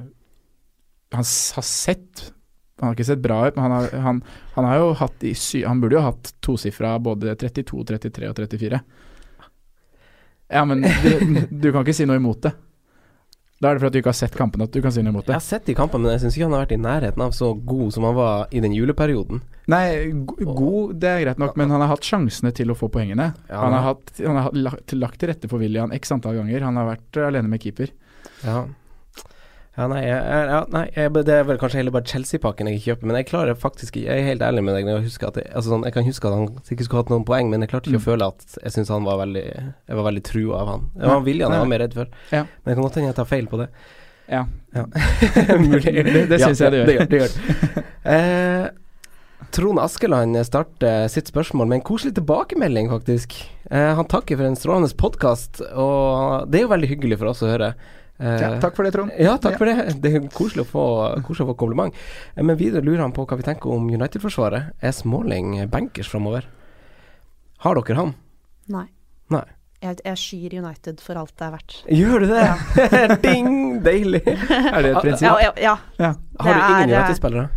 S3: han s- har sett Han har ikke sett bra ut, men han har, han, han har jo hatt i sy, Han burde jo ha hatt tosifra både 32, 33 og 34. Ja, men du, du kan ikke si noe imot det. Da er det for at du ikke har sett kampene at du kan si noe imot
S2: Jeg
S3: det.
S2: har sett de kampene, men jeg syns ikke han har vært i nærheten av så god som han var i den juleperioden.
S3: Nei, go- god, det er greit nok, men han har hatt sjansene til å få poengene.
S2: Ja,
S3: Han har, hatt, han har hatt lagt, lagt til rette for William x antall ganger. Han har vært eh, alene med keeper.
S2: Ja. Ja, nei, jeg, jeg- ja, nei jeg, det er vel kanskje heller bare Chelsea-pakken jeg ikke kjøper, men jeg klarer faktisk ikke Jeg er helt ærlig med deg. når Jeg, husker at jeg, altså, sånn, jeg kan huske at han sikkert skulle hatt noen poeng, men jeg klarte
S3: Mm.
S2: ikke å føle at jeg syntes han var veldig Jeg var veldig trua av han. Det var William jeg var mer redd for,
S3: Ja.
S2: men det kan godt hende jeg tar feil på det.
S3: Ja.
S2: Mulig.
S3: Det- det synes jeg det gjør.
S2: Det gjør, det gjør. Eh, Trond Askeland starter sitt spørsmål med en koselig tilbakemelding, faktisk. Eh, han takker for en strålende podkast, og det er jo veldig hyggelig for oss å høre. Eh,
S3: Ja, takk for det, Trond.
S2: ja, takk for det. Det er koselig å få, koselig å få kompliment. Eh, Men videre lurer han på hva vi tenker om United-forsvaret. Er Smalling bankers framover? Har dere han?
S4: Nei.
S2: Nei.
S4: Jeg, jeg skyr United for alt det er verdt.
S2: Gjør du det? Ding! Deilig. Eh,
S3: Er
S2: ah,
S3: det et prinsipp?
S4: Ja, ja, ja.
S3: Ja.
S2: Har du ingen
S4: Det er, eh,
S2: United-spillere?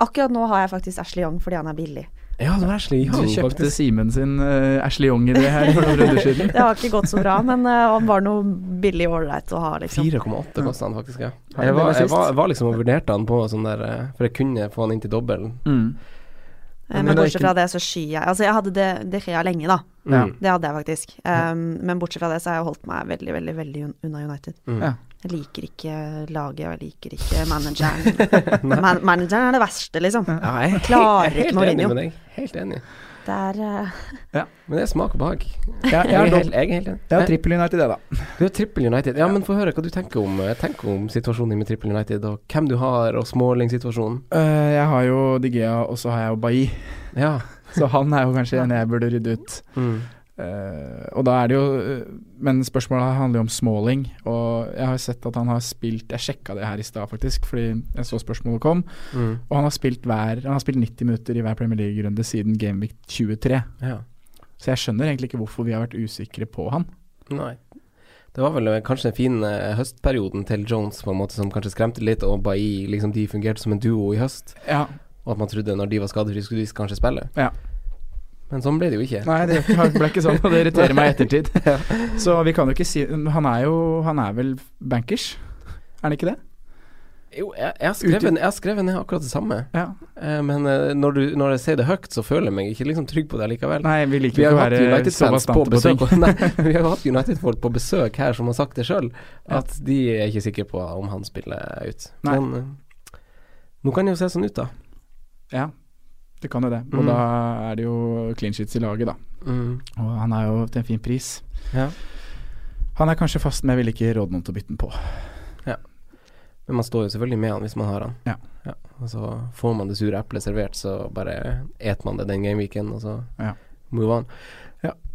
S4: Akkurat nå har jeg faktisk Ashley Young fordi han er billig.
S2: Ja, det var Ashley
S3: Du
S2: Young,
S3: kjøpte
S2: faktisk.
S3: Simen sin eh, Ashley Young i det her for noen runder siden.
S4: Det har ikke gått så bra, men eh, han var noe billig ålreit å ha, liksom.
S2: 4,8 kosta han faktisk, ja.
S3: Ja,
S2: Jeg
S3: det var
S2: var, jeg
S3: sist.
S2: var, var liksom og vurderte han på sånn der eh, For jeg kunne få han inn til dobbelen.
S3: Mm.
S4: Eh,
S3: Men
S4: Men
S3: det er
S4: bortsett
S3: ikke-
S4: fra det, så skyr jeg Altså, jeg hadde det, det skjer lenge, da.
S3: Ja.
S2: Mm.
S4: Det hadde jeg faktisk. Ehm, men bortsett fra det, så har jeg holdt meg veldig, veldig veldig un- unna United.
S2: Mm.
S3: Ja.
S4: Jeg liker ikke laget, og jeg liker ikke manageren. Man manageren er det verste, liksom.
S2: Ja, jeg er he- jeg er
S4: Klarer ikke
S2: helt enig
S4: Mourinho.
S2: med deg. Helt enig.
S4: Det er eh,
S2: Men det er smak og behag.
S3: Ja, jeg
S2: Jeg
S3: har
S2: er
S3: dobbelt-
S2: helt, jeg er helt enig.
S3: jeg har trippel United, jeg, da.
S2: Du er trippel United. Ja, men få høre hva du tenker om, eh, tenker om situasjonen med trippel United, og hvem du har, og Smalling-situasjonen.
S3: Eh, jeg har jo Digea, og så har jeg jo Bailly.
S2: Ja.
S3: Så han er jo kanskje en jeg burde rydde ut.
S2: Mm.
S3: Eh, og da er det jo eh, Men spørsmålet her handler jo om Smalling. Og jeg har sett at han har spilt Jeg sjekka det her i stad, faktisk, fordi jeg så spørsmålet kom.
S2: Mm.
S3: Og han har spilt, hver, han har spilt 90 minutter i hver Premier League-runde siden Gameweek 23.
S2: Ja.
S3: Så jeg skjønner egentlig ikke hvorfor vi har vært usikre på han.
S2: Nei. Det var vel eh, kanskje den fine eh, høstperioden til Jones på en måte som kanskje skremte litt, og Bailly liksom de fungerte som en duo i høst,
S3: Ja,
S2: og at man trodde når de var skadefrie, skulle de kanskje spille.
S3: Ja.
S2: Men sånn ble det jo ikke.
S3: Nei, det ble ikke sånn, og det irriterer meg i ettertid. Så vi kan jo ikke si Han er jo Han er vel bankers? Er han ikke det?
S2: Jo, jeg, jeg, har skrevet, jeg har skrevet ned akkurat det samme,
S3: Ja.
S2: eh, men eh, når, du, når jeg sier det høyt, så føler jeg meg ikke liksom trygg på det likevel.
S3: Nei, vi liker
S2: Vi
S3: jo
S2: har
S3: ikke å
S2: hatt
S3: være så
S2: United-fans på
S3: bastante på ting.
S2: besøk Nei, Vi har hatt United-folk på besøk her som har sagt det sjøl, at de er ikke sikre på om han spiller ut.
S3: Nei.
S2: Men eh, nå kan det jo se sånn ut, da.
S3: Ja, det kan jo det. Og
S2: Mm.
S3: da er det jo clean sheets i laget, da. Og han er jo til en fin pris.
S2: Ja.
S3: Han er kanskje fast, men jeg ville ikke råde noen til å bytte den på.
S2: Men man står jo selvfølgelig med han hvis man har han.
S3: Ja.
S2: Og så får man det sure eplet servert, så bare et man det den gameweeken, og så
S3: Ja.
S2: move on.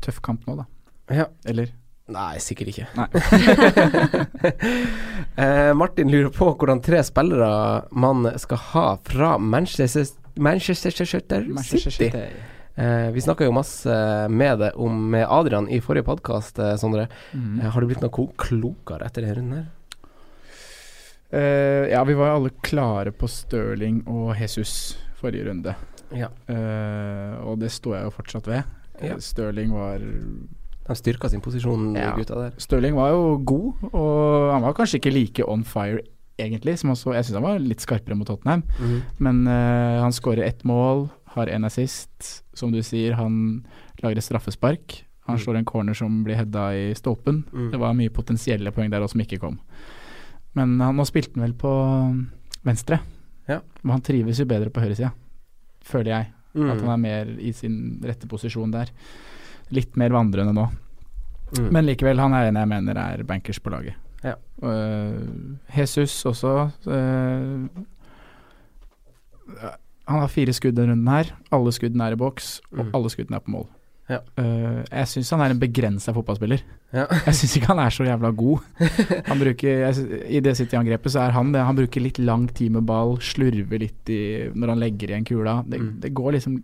S3: Tøff kamp nå, da.
S2: Ja.
S3: Eller?
S2: Nei, sikkert ikke.
S3: Nei.
S2: Eh, Martin lurer på hvordan tre spillere man skal ha fra Manchester Manchester City. Eh, vi snakka jo masse med det om med Adrian i forrige podkast, eh, Sondre.
S3: Mm.
S2: Eh, har du blitt noe ko- klokere etter denne runden her?
S3: Eh, ja, vi var jo alle klare på Stirling og Jesus forrige runde.
S2: Ja.
S3: Eh, og det står jeg jo fortsatt ved.
S2: Ja.
S3: Eh, Stirling var
S2: De styrka sin posisjon,
S3: Ja.
S2: gutta der.
S3: Stirling var jo god, og han var kanskje ikke like on fire egentlig. Som han så, jeg syns han var litt skarpere mot Tottenham, men eh, han skårer ett mål, har en assist. Som du sier, han lager et straffespark. Han
S2: Mm.
S3: slår en corner som blir heada i stolpen.
S2: Mm.
S3: Det var mye potensielle poeng der også som ikke kom. Men han, nå spilte han vel på um, venstre.
S2: Ja.
S3: Men han trives jo bedre på høyresida, føler jeg. At han
S2: Mm.
S3: er mer i sin rette posisjon der. Litt mer vandrende nå.
S2: Mm.
S3: Men likevel, han er en jeg mener er bankers på laget.
S2: Ja.
S3: Øh, Jesus også. øh, han har fire skudd denne runden her. Alle skuddene er i boks, og
S2: Mm.
S3: alle skuddene er på mål.
S2: Ja.
S3: Eh, jeg syns han er en begrensa fotballspiller.
S2: Ja.
S3: Jeg syns ikke han er så jævla god. Han bruker, jeg sy- I det City-angrepet så er han det. Han bruker litt lang tid med ball, slurver litt i, når han legger igjen kula. Det,
S2: Mm.
S3: det går liksom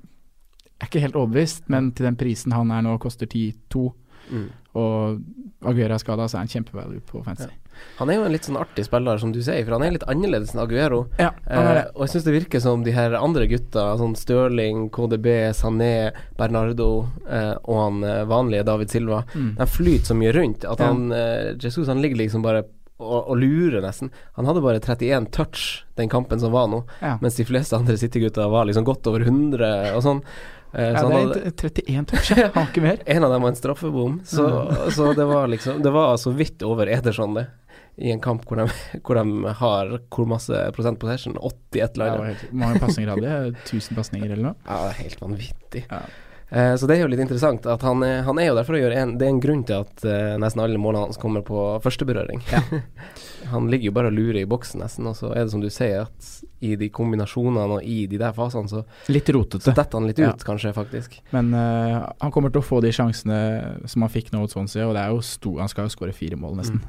S3: Jeg er ikke helt overbevist, men til den prisen han er nå, koster 10-2,
S2: Mm.
S3: og Aguera er skada, så er han kjempevalue på fancy.
S2: Han er jo en litt sånn artig spiller, som du sier, for han er litt annerledes enn Aguero.
S3: Ja, han er
S2: Eh,
S3: det.
S2: og jeg syns det virker som de her andre gutta, sånn Stirling, KDB, Sané, Bernardo eh, og han eh, vanlige David Silva,
S3: Mm.
S2: de flyter så mye rundt at
S3: Ja.
S2: han eh, Jesus han ligger liksom bare og, og lurer, nesten. Han hadde bare 31 touch den kampen som var nå,
S3: Ja.
S2: mens de fleste andre City-gutta var liksom godt over 100 og sånn. Eh,
S3: Ja,
S2: så han
S3: det
S2: hadde,
S3: er 31 touch, ja. han har ikke Mm. mer.
S2: en av dem var en straffebom, så, så det var liksom Det var så vidt over Ederson, det. I en kamp hvor de, hvor de har hvor masse prosent possession? 80 et eller
S3: Ja,
S2: annet.
S3: det var helt- Hvor mange pasninger hadde jeg? 1000 pasninger eller noe?
S2: Ja, det er helt vanvittig.
S3: Ja.
S2: Eh, Så det er jo litt interessant at han er, han er jo der for å gjøre en Det er en grunn til at eh, nesten alle målene hans kommer på førsteberøring. han ligger jo bare og lurer i boksen, nesten, og så er det som du sier, at i de kombinasjonene og i de der fasene, så
S3: Litt rotete.
S2: detter han litt ut,
S3: Ja.
S2: kanskje, faktisk.
S3: Men eh, han kommer til å få de sjansene som han fikk nå mot Swansea, og det er jo sto, han skal jo skåre fire mål, nesten.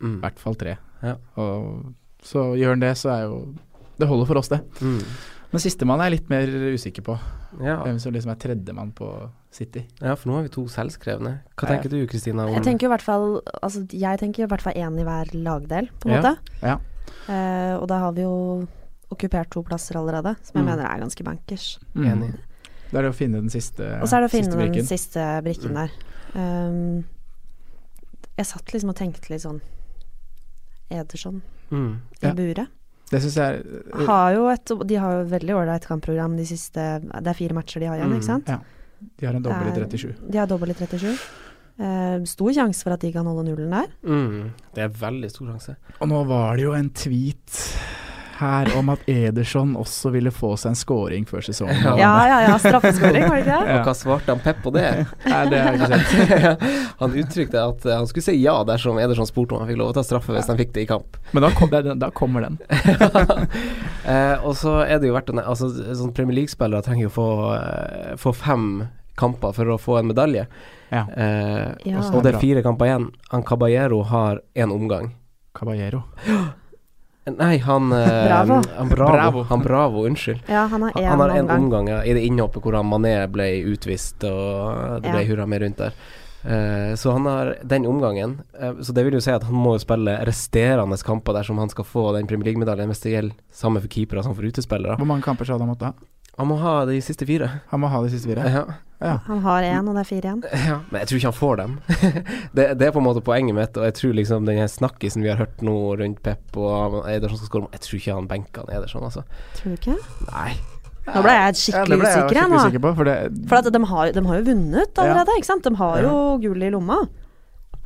S3: I
S2: Mm.
S3: hvert fall tre.
S2: Ja.
S3: Og, så gjør han det, så er jo Det holder for oss, det.
S2: Mm.
S3: Men sistemann er jeg litt mer usikker på.
S2: Ja.
S3: Hvem som liksom er tredjemann på City.
S2: Ja, for nå har vi to selvskrevne. Hva
S3: Ja.
S2: tenker du, Kristina? om-
S4: Jeg tenker jo i hvert fall altså, Jeg tenker i hvert fall én i hver lagdel, på en
S2: Ja,
S4: måte.
S3: ja.
S4: Eh, og da har vi jo okkupert to plasser allerede, som jeg
S2: Mm.
S4: mener er ganske bankers.
S3: Mm.
S2: Enig.
S3: Da er det å finne den siste
S4: Og så er det å
S3: siste
S4: finne den
S3: brikken. Mm.
S4: siste brikken der. Um, jeg satt liksom og tenkte litt sånn Ederson
S2: Mm.
S4: i
S3: Ja. Eh.
S4: buret.
S3: Det syns jeg er
S4: Har jo et, de har jo et veldig ålreit kampprogram de siste Det er fire matcher de har igjen,
S2: Mm.
S4: ikke sant?
S3: De har en dobbel i
S4: Det er-
S3: 37.
S4: De har dobbel i 37. Eh, stor sjanse for at de kan holde nullen der.
S2: Mm. Det er veldig stor sjanse.
S3: Og nå var det jo en tweet her om at Ederson også ville få seg en scoring før sesongen.
S2: Ja.
S4: Ja, ja, ja. Straffeskåring, var det ikke det?
S3: Ja.
S2: Og hva svarte han Pep på det?
S3: Nei, det er ikke sant.
S2: han uttrykte at eh, han skulle si ja dersom Ederson spurte om han fikk lov å ta straffe hvis han fikk det i kamp.
S3: Men da, kom, da, da kommer den.
S2: Eh, og så er det jo verdt å ne- altså, sånn Premier League-spillere trenger jo få, eh, få fem kamper for å få en medalje.
S3: Ja.
S2: Eh,
S4: Ja.
S2: og så- Og det er fire kamper igjen. Han Caballero har én omgang.
S3: Caballero.
S2: Nei, han eh,
S4: Bravo.
S2: Han Bravo.
S3: Bravo.
S2: Han Bravo, unnskyld.
S4: Ja, han har
S2: Han,
S4: én
S2: han har en
S4: omgang.
S2: omgang ja, i det innhoppet hvor han Mané ble utvist, og det ble
S4: Ja.
S2: hurra med rundt der. Eh, så han har den omgangen. eh, så det vil jo si at han må jo spille resterende kamper dersom han skal få den Premier League-medaljen, hvis det gjelder samme for keepere som for utespillere.
S3: Hvor mange kamper sa du han måtte ha?
S2: Han må ha de siste fire.
S3: Han må ha de siste fire.
S2: Ja.
S4: Han har én, og det er fire igjen.
S2: Ja. Men jeg tror ikke han får dem. det, det er på en måte poenget mitt, og jeg tror liksom den her snakkisen vi har hørt nå rundt Pep og Ederson skal skåre Jeg tror ikke han benker han Ederson, altså.
S4: Tror du ikke?
S2: Nei.
S4: Nå ble jeg skikkelig usikker jeg nå.
S3: usikker på, for det,
S4: For at de, har, de har jo vunnet allerede, ikke sant? De har jo gull i lomma.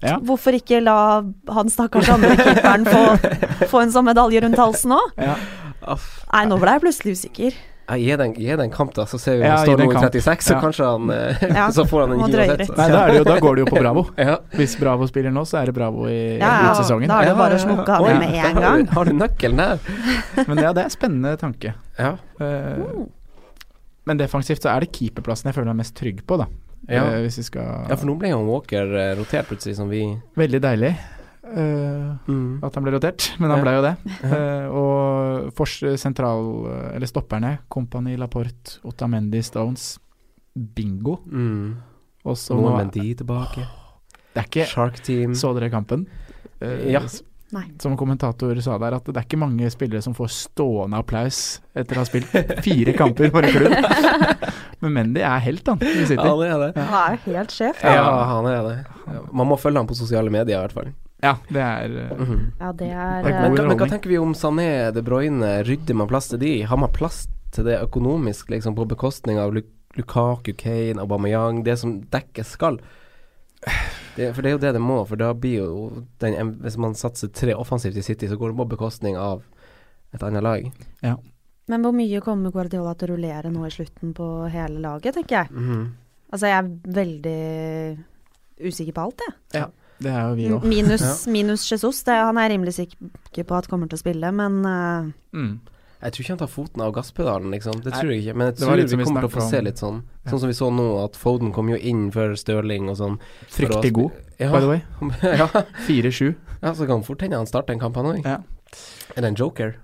S3: Ja.
S4: Hvorfor ikke la han stakkars andre keeperen få, få en sånn medalje rundt halsen òg?
S3: ja.
S2: Aff.
S4: Nei, nå ble jeg plutselig usikker.
S2: Ja, Gi den, gi den kamp, da, så ser vi om
S3: Ja,
S2: det
S3: gi
S2: står
S3: den
S2: noe i
S3: kamp.
S2: 36, så
S3: Ja.
S2: kanskje han eh,
S4: Ja,
S2: Så får han
S4: må
S2: en
S4: drøye
S2: uansett.
S4: litt.
S3: Nei, da, er det jo, da går det jo på Bravo.
S2: Ja.
S3: Hvis Bravo spiller nå, så er det Bravo i
S4: Ja, ja,
S3: utsesongen.
S4: da er det
S2: Ja,
S4: jo bare
S2: ja,
S4: å
S2: ja.
S4: smukke av
S2: Oi,
S4: det med
S2: da har
S4: en
S2: du-
S4: gang.
S2: Har du nøkkelen der?
S3: Men ja, det er en spennende tanke.
S2: Ja.
S3: Eh,
S4: Uh. Hmm,
S3: Men defensivt så er det keeperplassen jeg føler meg mest trygg på, da.
S2: Ja.
S3: Eh, hvis vi skal
S2: for nå ble jo Walker eh, rotert plutselig, som vi
S3: Veldig deilig. Eh, at han ble rotert, men han
S2: Ja.
S3: ble jo det. Eh, og fors sentral, eller stopperne, Kompani Laporte, Otamendi Stones, bingo.
S2: Mm.
S3: Og så
S2: Så nå
S3: nå
S2: er Mendy tilbake.
S3: Det er ikke
S2: Shark Team.
S3: Så dere kampen? Eh,
S2: Mm. Ja.
S3: s-
S4: Nei.
S3: Som kommentator sa der, at det er ikke mange spillere som får stående applaus etter å ha spilt fire kamper for en klubb. Men Mendy er helt, han. i City.
S2: Ja, det er det.
S4: Han er jo helt sjef.
S2: Ja, han er det. Man må følge ham på sosiale medier, i hvert fall.
S3: Ja, det er eh,
S2: Mhm.
S4: Ja, det
S3: Det
S4: er
S3: er
S2: Men,
S3: god
S4: eh,
S2: hva- men hva
S3: underholdning.
S2: tenker vi om Sané, De Bruyne, rydder man plass til de? Har man plass til det økonomisk, liksom, på bekostning av Lu- Lukaku, Kane, Aubameyang, det som dekkes skal? Det, for det er jo det det må, for da blir jo den, en- Hvis man satser tre offensivt i City, så går det på bekostning av et annet lag.
S4: Men hvor mye kommer Guardiola til å rullere nå i slutten på hele laget, tenker jeg.
S2: Mhm.
S4: Altså, jeg er veldig usikker på alt, jeg.
S3: Det er jo vi òg.
S4: Minus, minus Jesus. Det, han er jeg rimelig sikker på at kommer til å spille, men eh,
S3: Mm.
S2: Jeg tror ikke han tar foten av gasspedalen, liksom. Det
S3: Nei,
S2: tror jeg ikke. Men jeg
S3: det var
S2: tror
S3: litt
S2: vi
S3: som vi
S2: kommer til å få
S3: snakket
S2: se
S3: om.
S2: litt sånn.
S3: Ja.
S2: Sånn som vi så nå, at Foden kom jo inn før Stirling og sånn.
S3: Fryktelig god,
S2: Ja.
S3: by the way.
S2: ja.
S3: 4-7.
S2: ja, så kan fort hende han starter en kamp, han òg.
S3: Ja.
S2: Er det en joker?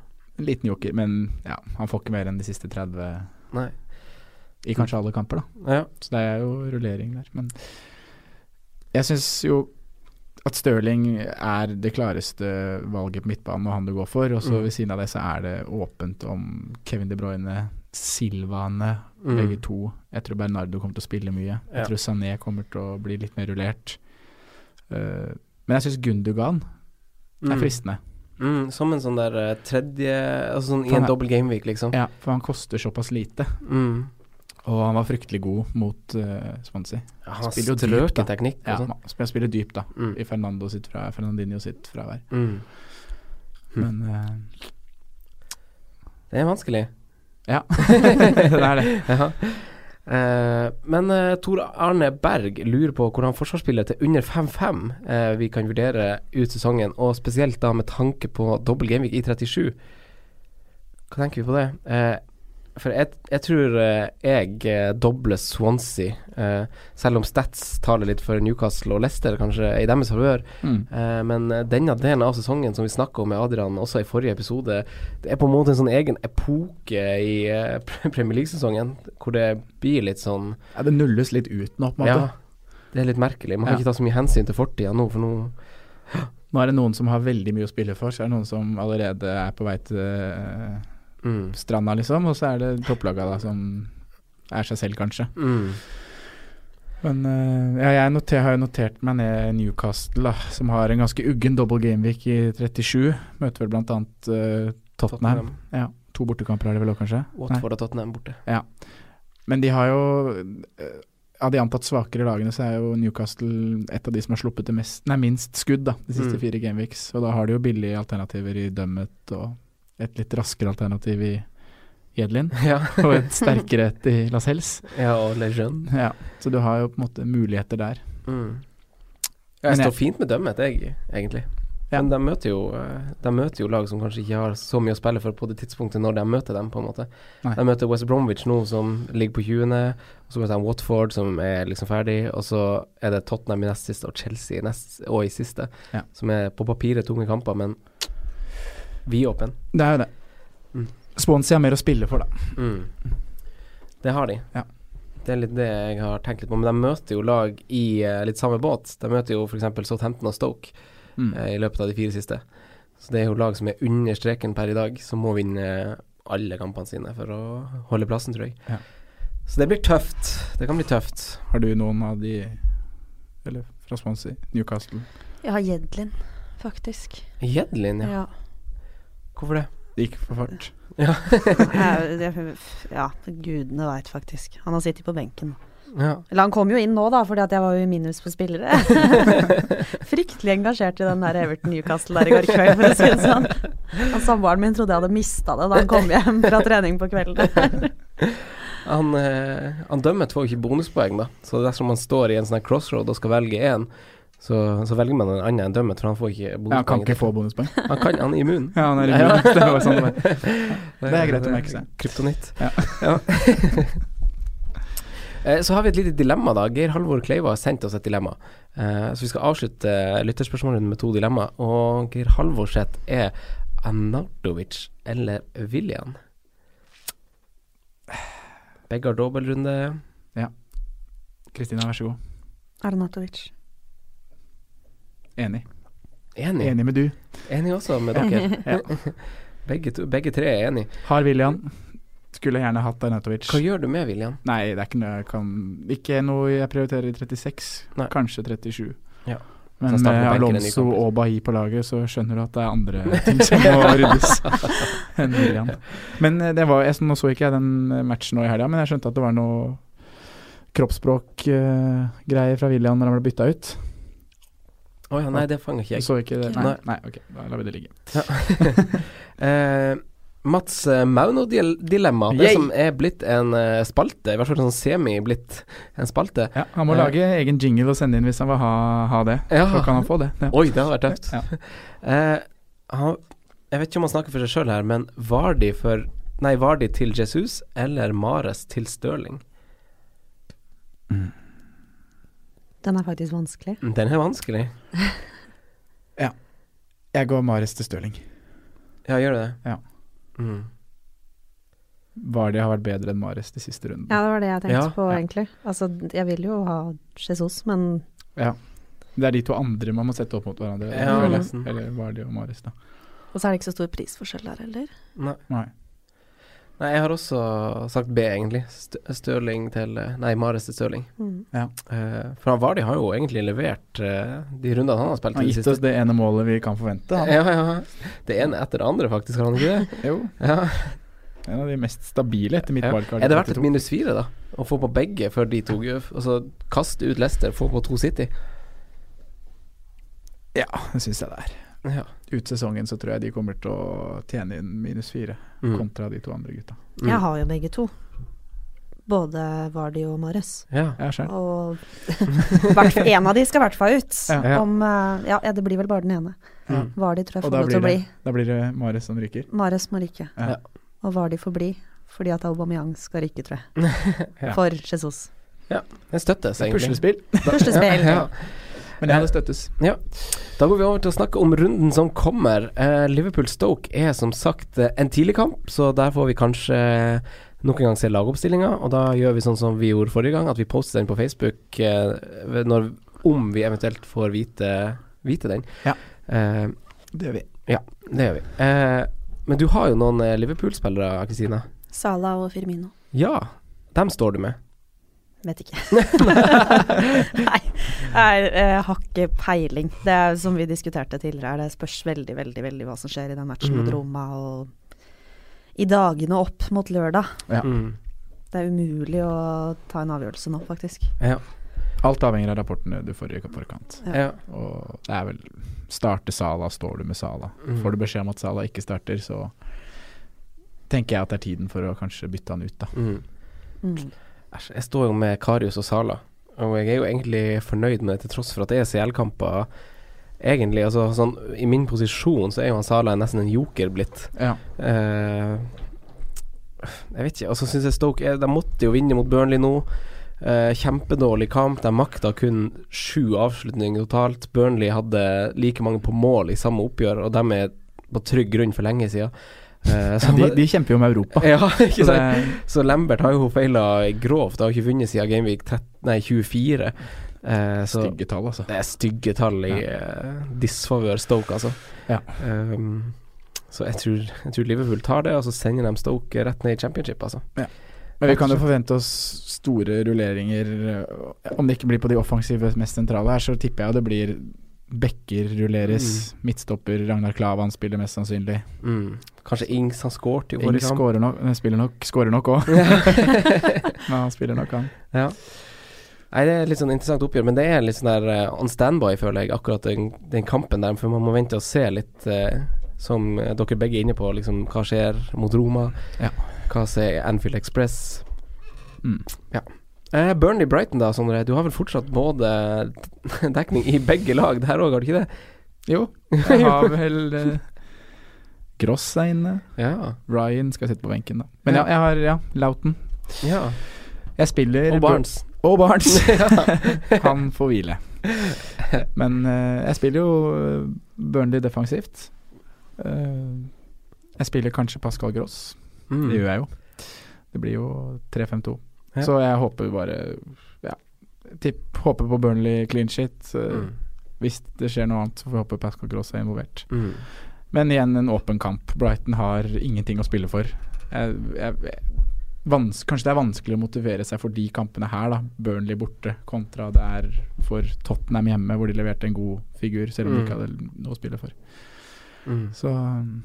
S3: En liten joker, men ja, han får ikke mer enn de siste 30
S2: Nei.
S3: i kanskje alle kamper, da.
S2: Ja.
S3: Så det er jo rullering der. Men jeg syns jo at Stirling er det klareste valget på midtbanen og han du går for. Og så
S2: Mm.
S3: ved siden av det så er det åpent om Kevin De Bruyne, Silvaene,
S2: Mm.
S3: begge to. Jeg tror Bernardo kommer til å spille
S2: Ja.
S3: mye. Jeg tror Sané kommer til å bli litt mer rullert. Eh, men jeg syns Gundugan er
S2: Mm.
S3: fristende.
S2: Mm, som en sånn der eh, tredje Altså sånn i
S3: Han
S2: en
S3: er-
S2: dobbel gameweek, liksom.
S3: Ja, for han koster såpass lite.
S2: Mm.
S3: Og han var fryktelig god mot eh, Swansea. Altså,
S2: Ja, han
S3: Spiller jo
S2: spiller jo
S3: dypt, da.
S2: teknikk
S3: Ja,
S2: og sånn.
S3: han spiller dypt, da.
S2: Mm.
S3: i Fernando sitt fra, Fernandinho sitt fravær.
S2: Mm.
S3: Men eh,
S2: Det er vanskelig.
S3: ja, det er det.
S2: Ja. Eh, men eh, Tor Arne Berg lurer på hvordan forsvarsspillere til under 5-5 eh, vi kan vurdere ut sesongen, og spesielt da med tanke på dobbel gameweek i 37. Hva tenker vi på det? Eh, for jeg, jeg tror eh, jeg eh, dobler Swansea, eh, selv om Stats taler litt for Newcastle og Leicester kanskje i deres favør.
S3: Mm.
S2: Eh, Men eh, denne delen av sesongen som vi snakka om med Adrian også i forrige episode, det er på en måte en sånn egen epoke i eh, Pre- Premier League-sesongen, hvor det blir litt sånn
S3: Ja, det nulles litt ut nå, på en måte.
S2: Ja, det er litt merkelig. Man kan
S3: Ja.
S2: ikke ta så mye hensyn til fortida nå, for nå
S3: Nå er det noen som har veldig mye å spille for, så er det noen som allerede er på vei til eh,
S2: mm,
S3: stranda, liksom, og så er det topplaga da som er seg selv, kanskje.
S2: mm,
S3: Men eh, ja, jeg noter, har jo notert meg ned Newcastle, da, som har en ganske uggen double gameweek i 37. Møter vel blant annet eh, Tottenham.
S2: Tottenham.
S3: Ja, to bortekamper har de vel òg, kanskje? Nei.
S2: Watford og Tottenham borte.
S3: Men de har jo eh, Av de antatt svakere lagene, så er jo Newcastle et av de som har sluppet det mest, nei, minst skudd da, de siste
S2: Mm.
S3: fire Gameweeks. Og da har de jo billige alternativer i Dummet og et litt raskere alternativ i Jedlin.
S2: ja.
S3: Og et sterkere et i Lascelles.
S2: ja, og Lejeune.
S3: Ja, så du har jo på en måte muligheter der.
S2: Mm.
S3: Men
S2: Jeg
S3: jeg-
S2: står fint med dømmet, jeg, egentlig.
S3: Ja.
S2: Men de møter, jo, eh, de møter jo lag som kanskje ikke har så mye å spille for på det tidspunktet når de møter dem, på en måte.
S3: Nei.
S2: De møter West Bromwich nå, som ligger på 20., og så møter de Watford, som er liksom ferdig, og så er det Tottenham i nest siste og Chelsea i nest, og i siste,
S3: Ja.
S2: som er på papiret tunge kamper, men vidåpen.
S3: Det er jo det.
S2: Mm.
S3: Swansea har mer å spille for, da.
S2: Mm. Det har de.
S3: Ja.
S2: Det er litt det jeg har tenkt litt på. Men de møter jo lag i eh, litt samme båt. De møter jo f.eks. Southampton og Stoke
S3: Mm.
S2: eh, i løpet av de fire siste. Så det er jo lag som er under streken per i dag, som må vinne alle kampene sine for å holde plassen, tror jeg.
S3: Ja.
S2: Så det blir tøft. Det kan bli tøft.
S3: Har du noen av de Eller fra Swansea? Newcastle?
S5: Jeg har Jedlin, faktisk.
S2: Jedlin, ja.
S5: Ja.
S2: Hvorfor det?
S3: Det gikk for fart.
S5: Jeg, jeg, ja, gudene veit faktisk. Han har sittet på benken.
S2: Ja.
S5: Eller han kom jo inn nå, da, fordi at jeg var jo i minus på spillere. Fryktelig engasjert i den der Everton Newcastle der i går kveld, for å si det sånn. Og samboeren min trodde jeg hadde mista det da han kom hjem fra trening på kvelden.
S2: Han, eh, han dømmet får jo ikke bonuspoeng, da. Så dersom man står i en sånn her crossroad og skal velge én, så, så velger man en annen enn dømmet, for han får ikke bonuspoeng.
S3: Ja, han kan ikke få bonuspoeng.
S2: Han kan, han er immun.
S3: Ja, han er immun.
S2: Ja.
S3: Det, var sånn det var. Det er greit å merke seg.
S2: Kryptonitt.
S3: Ja.
S2: Ja. Eh, Så har vi et lite dilemma, da. Geir Halvor Kleiva har sendt oss et dilemma. Eh, Så vi skal avslutte lytterspørsmålene med to dilemma. Og Geir Halvor sitt er Arnautovic eller William? Begge har dobbeltrunde.
S3: Kristina, vær så god.
S5: Arnatovic.
S3: Enig.
S2: Enig.
S3: Enig med du.
S2: Enig også med dere. Begge, to, begge tre er enig.
S3: Har William. Skulle gjerne hatt Arnautovic.
S2: Hva gjør du med William?
S3: Nei, det er ikke noe jeg kan Ikke noe jeg prioriterer i 36,
S2: Nei.
S3: kanskje 37.
S2: Ja.
S3: Men
S2: Så
S3: med
S2: starter benken i ny
S3: Alonso
S2: kamp.
S3: og Bahi på laget, så skjønner du at det er andre ting som må ryddes enn William. Men eh, det var, jeg, nå så ikke jeg den eh, matchen nå i helga, men jeg skjønte at det var noe kroppsspråkgreier fra William når han ble bytta ut.
S2: Å ja, nei, det fanger ikke jeg.
S3: Du så ikke det? Nei,
S2: Nei.
S3: nei ok, da lar vi det ligge.
S2: Eh, Mats eh, Mauno-dilemma. Det
S3: Yay!
S2: som er blitt en eh, spalte, i hvert fall sånn semi blitt en spalte.
S3: Ja, han må
S2: Ja. Eh.
S3: lage egen jingle og sende inn hvis han vil ha, ha det.
S2: Ja.
S3: Så kan han få det. Ja.
S2: Oi, det har vært tøft.
S3: Ja.
S2: Eh, han, Jeg vet ikke om han snakker for seg sjøl her, men var de, for, nei, var de til Jesus eller Mares til Stirling? Mm.
S5: Den er faktisk vanskelig.
S2: Den er vanskelig.
S3: Jeg går Mares til Stirling.
S2: Ja, gjør du det?
S3: Ja.
S2: Mm.
S3: Vardy har vært bedre enn Mares de siste rundene.
S5: Ja, det var det jeg tenkte
S2: Ja,
S5: på,
S2: ja.
S5: egentlig. Altså, jeg vil jo ha Jesus, men
S3: Det er de to andre man må sette opp mot hverandre.
S2: Ja, Mm.
S3: føler jeg.
S2: nesten.
S3: Eller Vardy og Mares, da.
S5: Og så er det ikke så stor prisforskjell der heller.
S2: Nei.
S3: Nei.
S2: nei, jeg har også sagt B, egentlig. St Stirling til eh, Nei, Mares til Stirling.
S5: Mm.
S2: Eh, for han Vardi har jo egentlig levert eh, de rundene han har spilt i
S3: Han har
S2: det
S3: gitt
S2: siste.
S3: oss det ene målet vi kan forvente. Han.
S2: Ja, ja. Det ene etter det andre, faktisk, har han ikke det?
S3: Jo,
S2: Ja.
S3: en av de mest stabile etter mitt
S2: Ja.
S3: wildcard.
S2: Er det verdt et
S3: 32?
S2: minus fire, da? Å få på begge før de to Altså kaste ut Leicester, få på to City.
S3: Ja, det syns jeg det er.
S2: Ja.
S3: Ut sesongen så tror jeg de kommer til å tjene inn minus fire,
S2: Mm.
S3: kontra de to andre gutta.
S2: Mm.
S5: Jeg har jo begge to. Både Vardi og Mares.
S2: ja.
S3: Ja, skjønn.
S5: Og hvert- en av de skal i hvert fall ut.
S3: Ja.
S2: Ja.
S5: Om, eh, ja, ja, det blir vel bare den ene.
S2: Ja.
S5: Vardi tror jeg får
S3: Og da
S5: lov til
S3: blir,
S5: å bli.
S3: det, da blir det Mares som ryker.
S5: Mares må ryke.
S3: Ja.
S5: Og Vardi får bli. Fordi at Aubameyang skal ryke, tror jeg.
S3: Ja.
S5: For Jesus.
S2: Den støttes, egentlig.
S3: Puslespill.
S5: Puslespill.
S2: Ja.
S3: Men ja, det støttes.
S2: Da går vi over til å snakke om runden som kommer. Eh, Liverpool-Stoke er som sagt eh, en tidlig kamp, så der får vi kanskje eh, nok en gang se lagoppstillinga. Og da gjør vi sånn som vi gjorde forrige gang, at vi poster den på Facebook eh, ved- når, om vi eventuelt får vite, vite den.
S3: Ja.
S2: Eh,
S3: Det gjør vi.
S2: det gjør vi. Eh, men du har jo noen eh, Liverpool-spillere, Kristina.
S5: Sala og Firmino.
S2: Ja, dem står du med.
S5: Vet ikke. Nei, jeg eh, har ikke peiling. Det er som vi diskuterte tidligere, her, det spørs veldig, veldig veldig hva som skjer i den matchen mot
S2: Mhm.
S5: Roma og i dagene opp mot lørdag.
S3: Ja.
S2: Mm.
S5: Det er umulig å ta en avgjørelse nå, faktisk.
S3: Alt avhenger av rapportene du får i forkant.
S5: Ja.
S2: Ja.
S3: Og det er vel Starte Sala, står du med Sala.
S2: Mm.
S3: Får du beskjed om at Sala ikke starter, så tenker jeg at det er tiden for å kanskje bytte han ut, da.
S2: Mm.
S5: Mm.
S2: Æsj, jeg står jo med Karius og Sala, og jeg er jo egentlig fornøyd med det, til tross for at det er CL-kamper. Egentlig, altså sånn I min posisjon så er jo han Sala nesten en joker blitt.
S3: Ja.
S2: Eh, jeg vet ikke, altså syns jeg Stoke er, De måtte jo vinne mot Burnley nå. Eh, kjempedårlig kamp. De makta kun sju avslutninger totalt. Burnley hadde like mange på mål i samme oppgjør, og de er på trygg grunn for lenge siden. Eh, så-
S3: De, Altså, de kjemper jo om Europa.
S2: ja, ikke
S3: Så
S2: sant?
S3: det,
S2: Så Lambert har jo feila grovt, har ikke vunnet siden Gameweek 13, nei, 24. Eh, så
S3: stygge tall, altså.
S2: det er stygge tall i eh, disfavør Stoke, altså.
S3: Ja.
S2: Ehm, så jeg tror, jeg tror Liverpool tar det, og så sender de Stoke rett ned i championship, altså.
S3: Men vi kan jo forvente oss store rulleringer. øh, Om det ikke blir på de offensive mest sentrale her, så tipper jeg jo det blir Bekker rulleres, midtstopper Ragnar Klavan spiller mest sannsynlig.
S2: Mm. Kanskje Ings, han skårte jo
S3: Ing
S2: forrige kamp.
S3: skårer nok, nei, spiller nok, skårer nok òg. Men han spiller nok, han.
S2: Nei, det er litt sånn interessant oppgjør, men det er litt sånn der eh, on standby, føler jeg, akkurat den, den kampen der. For man må vente og se litt, eh, som eh, dere begge er inne på, liksom hva skjer mot Roma?
S3: Ja.
S2: Hva sier Anfield Express?
S3: Mm.
S2: Eh, Burnley Brighton da, Sondre. Du har vel fortsatt både dekning i begge lag der òg, har du ikke det?
S3: Jo, jeg har vel øh, Gross er inne.
S2: Ja.
S3: Ryan skal sitte på benken, da. Men
S2: Ja.
S3: ja, jeg har ja, Lauten.
S2: ja.
S3: Jeg spiller
S2: Og Barnes.
S3: Og Barnes.
S2: ja.
S3: Han får hvile. Men eh, jeg spiller jo eh, Burnley defensivt. Eh, jeg spiller kanskje Pascal Gross.
S2: Mm.
S3: Det gjør jeg jo. Det blir jo 3-5-2.
S2: Ja.
S3: Så jeg håper bare Ja. Tipp, håper på Burnley clean shit. Eh,
S2: Mm.
S3: Hvis det skjer noe annet, så får vi håpe Pascal Gross er involvert.
S2: Mm.
S3: Men igjen en åpen kamp. Brighton har ingenting å spille for. Jeg, jeg, jeg, vans, kanskje det er vanskelig å motivere seg for de kampene her, da. Burnley borte kontra det er for Tottenham hjemme, hvor de leverte en god figur, selv om de
S2: Mm.
S3: ikke hadde noe å spille for.
S2: Mm.
S3: Så um,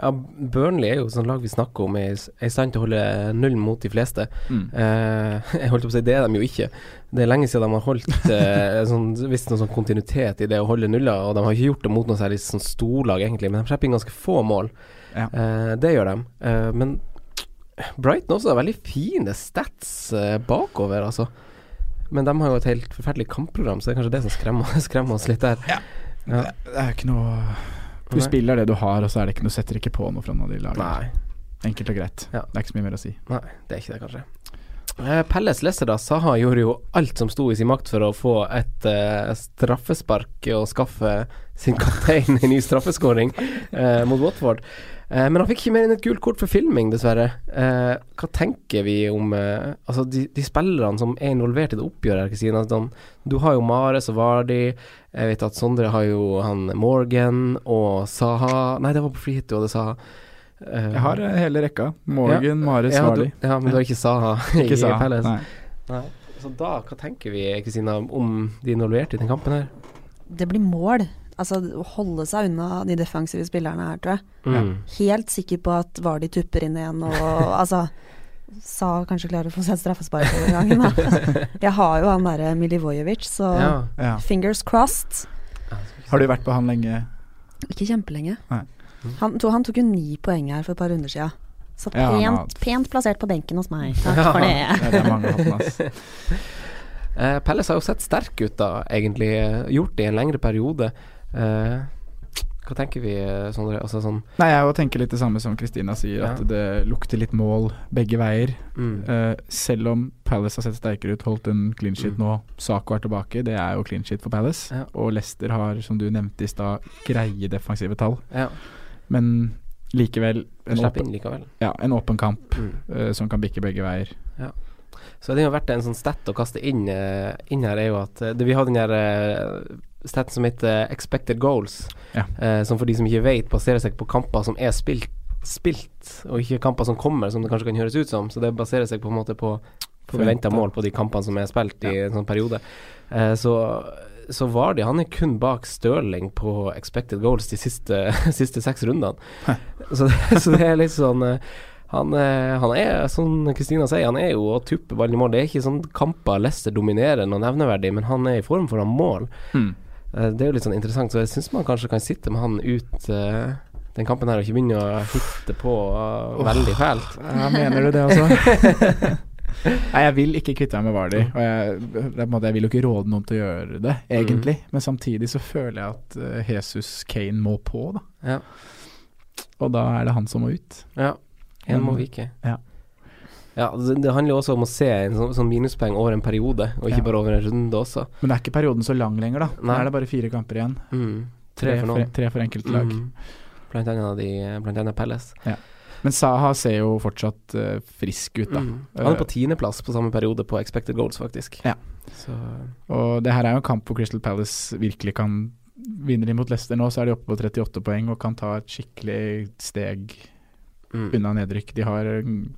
S2: Ja, Burnley er jo sånn lag vi snakker om, er er i stand til å holde null mot de fleste.
S3: mm.
S2: Eh, jeg holdt på å si det er de jo ikke. Det er lenge siden de har holdt eh, sånn, visst noen sånn kontinuitet i det å holde nuller, og de har ikke gjort det mot noe særlig sånn storlag, egentlig, men de slipper inn ganske få mål.
S3: Ja.
S2: Eh, det gjør de. Eh, men Brighton også har veldig fine stats eh, bakover, altså. Men de har jo et helt forferdelig kampprogram, så det er kanskje det som skremmer, skremmer oss litt der.
S3: Det er jo ikke noe Du
S2: Nei.
S3: spiller det du har, og så er det ikke noe, setter ikke på noe fra noe de lager.
S2: Nei,
S3: Enkelt og greit.
S2: Ja.
S3: Det er ikke så mye mer å si.
S2: det er ikke det, kanskje. Eh, Pelles leser da Saha gjorde jo alt som sto i sin makt for å få et eh, straffespark og skaffe sin kaptein en ny straffeskåring eh, mot Watford. Eh, men han fikk ikke mer enn et gult kort for filming, dessverre. Eh, hva tenker vi om eh, altså de, de spillerne som er involvert i det oppgjøret? her, Kristine? Altså, de- du har jo Mares og Vardi. Jeg vet at Sondre har jo han Morgan og Saha Nei, det var på frihet du hadde Saha. Eh,
S3: Jeg har eh, hele rekka. Morgan, Mare,
S2: ja,
S3: Svarli.
S2: du, ja, men du har ikke Saha
S3: Ikke
S2: i
S3: sa.
S2: Palace.
S3: Nei.
S2: Nei. Så da, hva tenker vi, Kristina, om de involverte i den kampen her?
S5: Det blir mål. Altså å holde seg unna de defensive spillerne her, tror jeg.
S2: Mm.
S5: Helt sikker på at Vardi tupper inn igjen og altså Sa kanskje klarer å få seg et straffespark denne gangen, da. Jeg har jo han derre Milivojevic, så
S2: Ja.
S3: Ja.
S5: fingers crossed.
S3: Har du vært på han lenge?
S5: Ikke kjempelenge.
S3: Nei.
S5: Han, to, han tok jo ni poeng her for et par runder siden. Så
S3: Ja,
S5: pent,
S3: han har-
S5: pent plassert på benken hos meg. Takk for det.
S3: Ja, det er mange av han, ass.
S2: Eh, Pelles har jo sett sterk ut, da, egentlig. eh, Gjort det i en lengre periode. Eh, hva tenker vi, eh, Sondre? Altså sånn
S3: Nei, jeg også tenker litt det samme som Kristina sier, at
S2: Ja.
S3: det lukter litt mål begge veier.
S2: mm.
S3: Eh, selv om Palace har sett sterkere ut, holdt en clean sheet
S2: Mm.
S3: nå, Saco er tilbake, det er jo clean sheet for Palace.
S2: Ja.
S3: Og Leicester har, som du nevnte i stad, greie defensive tall.
S2: Ja.
S3: Men likevel en
S2: Slipper
S3: åpen,
S2: inn likevel.
S3: ja, en åpen kamp
S2: Mm.
S3: eh, som kan bikke begge veier.
S2: Så det har vært en sånn stat å kaste inn, eh, inn her, er jo at eh, det, Vi har den her eh, staten som heter expected goals,
S3: Ja.
S2: eh, som for de som ikke vet, baserer seg på kamper som er spilt, spilt, og ikke kamper som kommer, som det kanskje kan høres ut som. Så det baserer seg på en måte på forventa
S3: Forventet.
S2: mål på de kampene som er spilt i en sånn periode. Eh, så så Vardy han er kun bak Stirling på expected goals de siste, siste seks rundene. Så det, så det er litt sånn eh, han, eh, han er, som Kristina sier, han er jo å tuppe ballen i mål. Det er ikke sånn kamper Leicester dominerer noe nevneverdig, men han er i form for å ha mål.
S3: Mm.
S2: Eh, Det er jo litt sånn interessant, så jeg syns man kanskje kan sitte med han ut eh, den kampen her og ikke begynne å hitte på eh, veldig fælt.
S3: Ja, mener du det også? Nei, jeg vil ikke kvitte meg med Vardy. Og jeg, det er på en måte, jeg vil jo ikke råde noen til å gjøre det, egentlig.
S2: Mm.
S3: Men samtidig så føler jeg at eh, Jesus Kane må på, da.
S2: Ja.
S3: Og da er det han som må ut.
S2: Ja, en må
S3: Mm.
S2: vike.
S3: Ja.
S2: Ja, det, det handler jo også om å se en sånn, sånn minuspoeng over en periode, og ikke
S3: Ja.
S2: bare over en runde også.
S3: Men det er ikke perioden så lang lenger, da. Nå
S2: Nei.
S3: er det bare fire kamper igjen.
S2: Mm. Tre for noen.
S3: tre for enkelte lag.
S2: Mm. Blant annet, de, blant annet Pelles.
S3: Men Saha ser jo fortsatt eh, frisk ut, da.
S2: Mm. Han er på tiendeplass på samme periode på expected goals, faktisk.
S3: Ja.
S2: Så
S3: Og det her er jo en kamp hvor Crystal Palace virkelig kan Vinner de mot Leicester nå, så er de oppe på 38 poeng og kan ta et skikkelig steg
S2: mm.
S3: unna nedrykk. De har mm,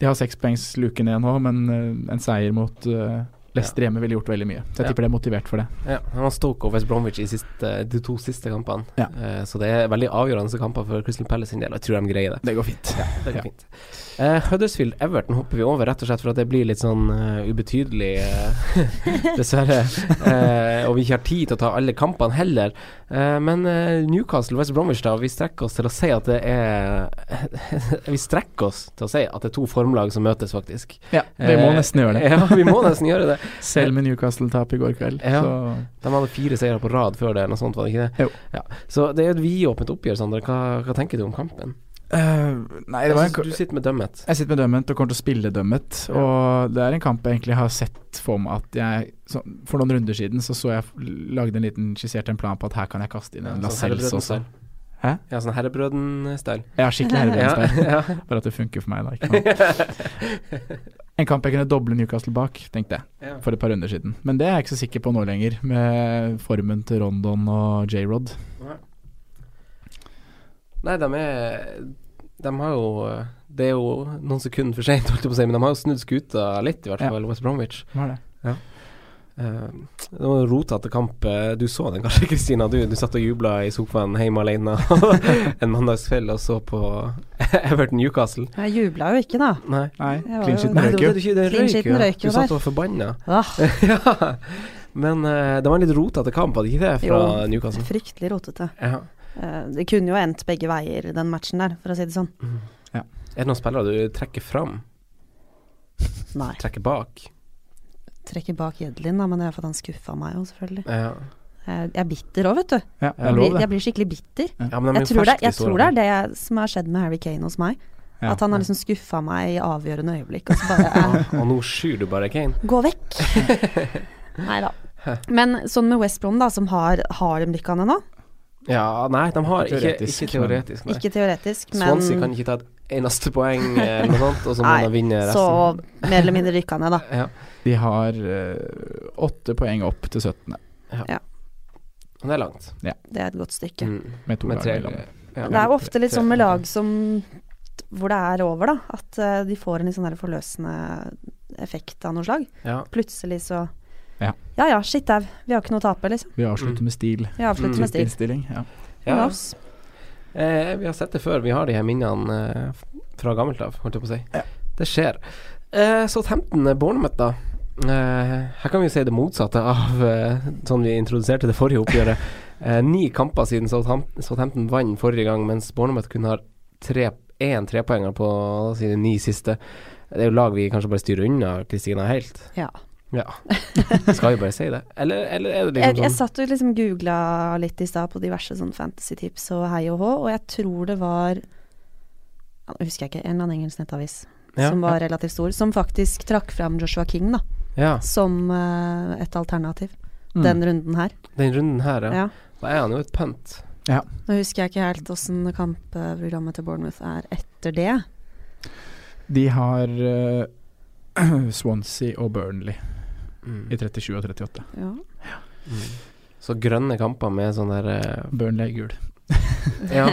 S3: De har sekspoengsluken ned nå, men eh, en seier mot eh, Leicester hjemme ville gjort veldig mye. Så jeg
S2: Ja.
S3: tipper de er motivert for det.
S2: Ja, han har Stoke og West Bromwich i siste, de to siste kampene.
S3: Ja.
S2: Eh, så det er veldig avgjørende kamper for Crystal Palace sin del, og jeg tror de greier det.
S3: Det går fint.
S2: Det går
S3: Ja.
S2: fint. Eh, Huddersfield Everton hopper vi over, rett og slett for at det blir litt sånn eh, ubetydelig, eh, dessverre. Eh, og vi ikke har tid til å ta alle kampene heller. Eh, men eh, Newcastle West Bromwich, da. Vi strekker oss til å si at det er Vi strekker oss til å si at det er to formlag som møtes, faktisk.
S3: Ja, vi må
S2: Eh,
S3: nesten gjøre det.
S2: Ja, vi må nesten gjøre det.
S3: Selv med Newcastle-tap i går kveld,
S2: Ja.
S3: så
S2: De hadde fire seire på rad før det, noe sånt, var det ikke det?
S3: Jo.
S2: Ja. Så det er jo et vidåpent oppgjør, Sander. Hva, hva tenker du om kampen?
S3: Eh, Nei, det
S2: Jeg synes
S3: var en
S2: Altså, du sitter med dømmet.
S3: Jeg sitter med dømmet og kommer til å spille dømmet.
S2: Ja.
S3: Og det er en kamp jeg egentlig har sett for meg at jeg så, For noen runder siden så, så jeg lagde en liten skissert en plan på at her kan jeg kaste inn en Lascelles også.
S2: Herrebrøden-style.
S3: Hæ?
S2: Ja, sånn Herrebrøden-style.
S3: Jeg har skikkelig herrebrødstær.
S2: ja.
S3: Bare at det funker for meg, da. Ikke sant? en kamp jeg kunne doble Newcastle bak, tenkte jeg,
S2: Ja.
S3: for et par runder siden. Men det er jeg ikke så sikker på nå lenger, med formen til Rondon og J-Rod.
S2: Nei, de er De har jo eh, Det er jo noen sekunder for seint, holdt jeg på å si, men de har jo snudd skuta litt, i hvert
S3: Ja.
S2: fall, West Bromwich.
S3: Hva er det?
S2: Eh, Det var en rotete kamp. Eh, Du så den kanskje, Kristina? Du, du satt og jubla i sofaen hjemme alene en mandagskveld og så på Everton Newcastle.
S5: Jeg jubla jo ikke, da.
S2: Nei.
S3: Nei,
S5: Jeg var
S3: clean
S5: jo-
S3: sheeten
S2: Nei, det
S3: røyk jo.
S2: var det du ikke- det
S5: Clean
S2: røyk
S5: sheeten
S2: jo.
S5: røyk jo
S2: Du satt
S5: der.
S2: og var forbanna.
S5: Ah,
S2: ja. Men eh, det var en litt rotete kamp, var det ikke det, fra
S5: Jo.
S2: Newcastle?
S5: fryktelig rotete.
S2: Ja.
S5: Eh, Det kunne jo endt begge veier, den matchen der, for å si det sånn.
S2: Er det noen spillere du trekker fram?
S5: Nei.
S2: Trekker bak?
S5: Trekker bak Jedlin, da, men det er for at han skuffa meg jo, selvfølgelig.
S2: Ja.
S4: eh, Jeg er bitter òg, vet du.
S3: Ja, det
S2: Ja.
S3: er
S4: Jeg
S3: lov,
S4: blir,
S3: det.
S4: jeg blir skikkelig bitter.
S2: Ja, men de er
S4: Jeg
S2: jo
S4: tror, det,
S2: ferske
S4: jeg
S2: sårene.
S4: tror det er det som har skjedd med Harry Kane hos meg.
S3: Ja.
S4: At han har liksom skuffa meg i avgjørende øyeblikk. Og så bare eh,
S2: Og nå skyr du bare Kane.
S4: Gå vekk! Nei da. Men sånn med West Brom, da, som har, har de rykka ned nå.
S2: Ja, nei, de har ikke,
S3: Teoretisk,
S2: ikke teoretisk, liksom. nei.
S4: Ikke teoretisk, men
S2: Swansea kan ikke ta et eneste poeng eh, eller noe sånt, og så må
S4: Nei,
S2: de vinne
S4: så
S2: resten.
S4: mer eller mindre rykka ned, da.
S2: Ja.
S3: De har eh, åtte poeng opp til 17.
S2: Men det er langt.
S4: Det er et godt stykke.
S2: Mm.
S3: Med to
S2: Med
S3: lag
S2: tre
S3: mellom.
S2: ja.
S4: Det er jo ofte litt
S2: Tre-
S4: sånn med lag som hvor det er over, da. At eh, de får en litt sånn der forløsende effekt av noe slag.
S2: Ja.
S4: Plutselig så
S3: Ja.
S4: ja ja, shit au. Vi har ikke noe å tape, liksom.
S3: Vi avslutter med stil.
S4: Vi avslutter
S2: Mm.
S4: med stil.
S3: Innstilling. Ja.
S4: Who
S2: Ja.
S4: knows?
S2: Eh, vi har sett det før, vi har de her minnene eh, f- fra gammelt av, holdt jeg på å si. Det skjer. Eh, så 15. Bournemouth, da. Eh, her kan vi jo si det motsatte av eh, sånn vi introduserte det forrige oppgjøret. Eh, ni kamper siden Southam- Southampton vant forrige gang, mens Bournemouth kun har tre, én trepoenger på sine ni siste. Det er jo lag vi kanskje bare styrer unna Kristina helt.
S4: Ja.
S2: Ja. Skal vi bare si det? Eller, eller er det
S4: Jeg,
S2: liksom
S4: jeg
S2: sånn
S4: satt og liksom googla litt i stad på diverse sånn fantasy-tips og hei og hå, og jeg tror det var ja, Nå husker jeg ikke, en eller annen engelsk nettavis
S2: Ja,
S4: som var relativt stor, som faktisk trakk fram Joshua King da,
S2: Ja,
S4: som eh, et alternativ
S3: Mm.
S4: den runden her.
S2: den runden her, ja.
S4: Ja.
S2: Da er han jo et punt.
S4: Nå husker jeg ikke helt åssen kampprogrammet til Bournemouth er etter det.
S3: De har eh, Swansea og Burnley
S2: Mm.
S3: i 37 og 38.
S4: Ja.
S2: Så grønne kamper med sånn der eh,
S3: Burnley er gul.
S2: Ja,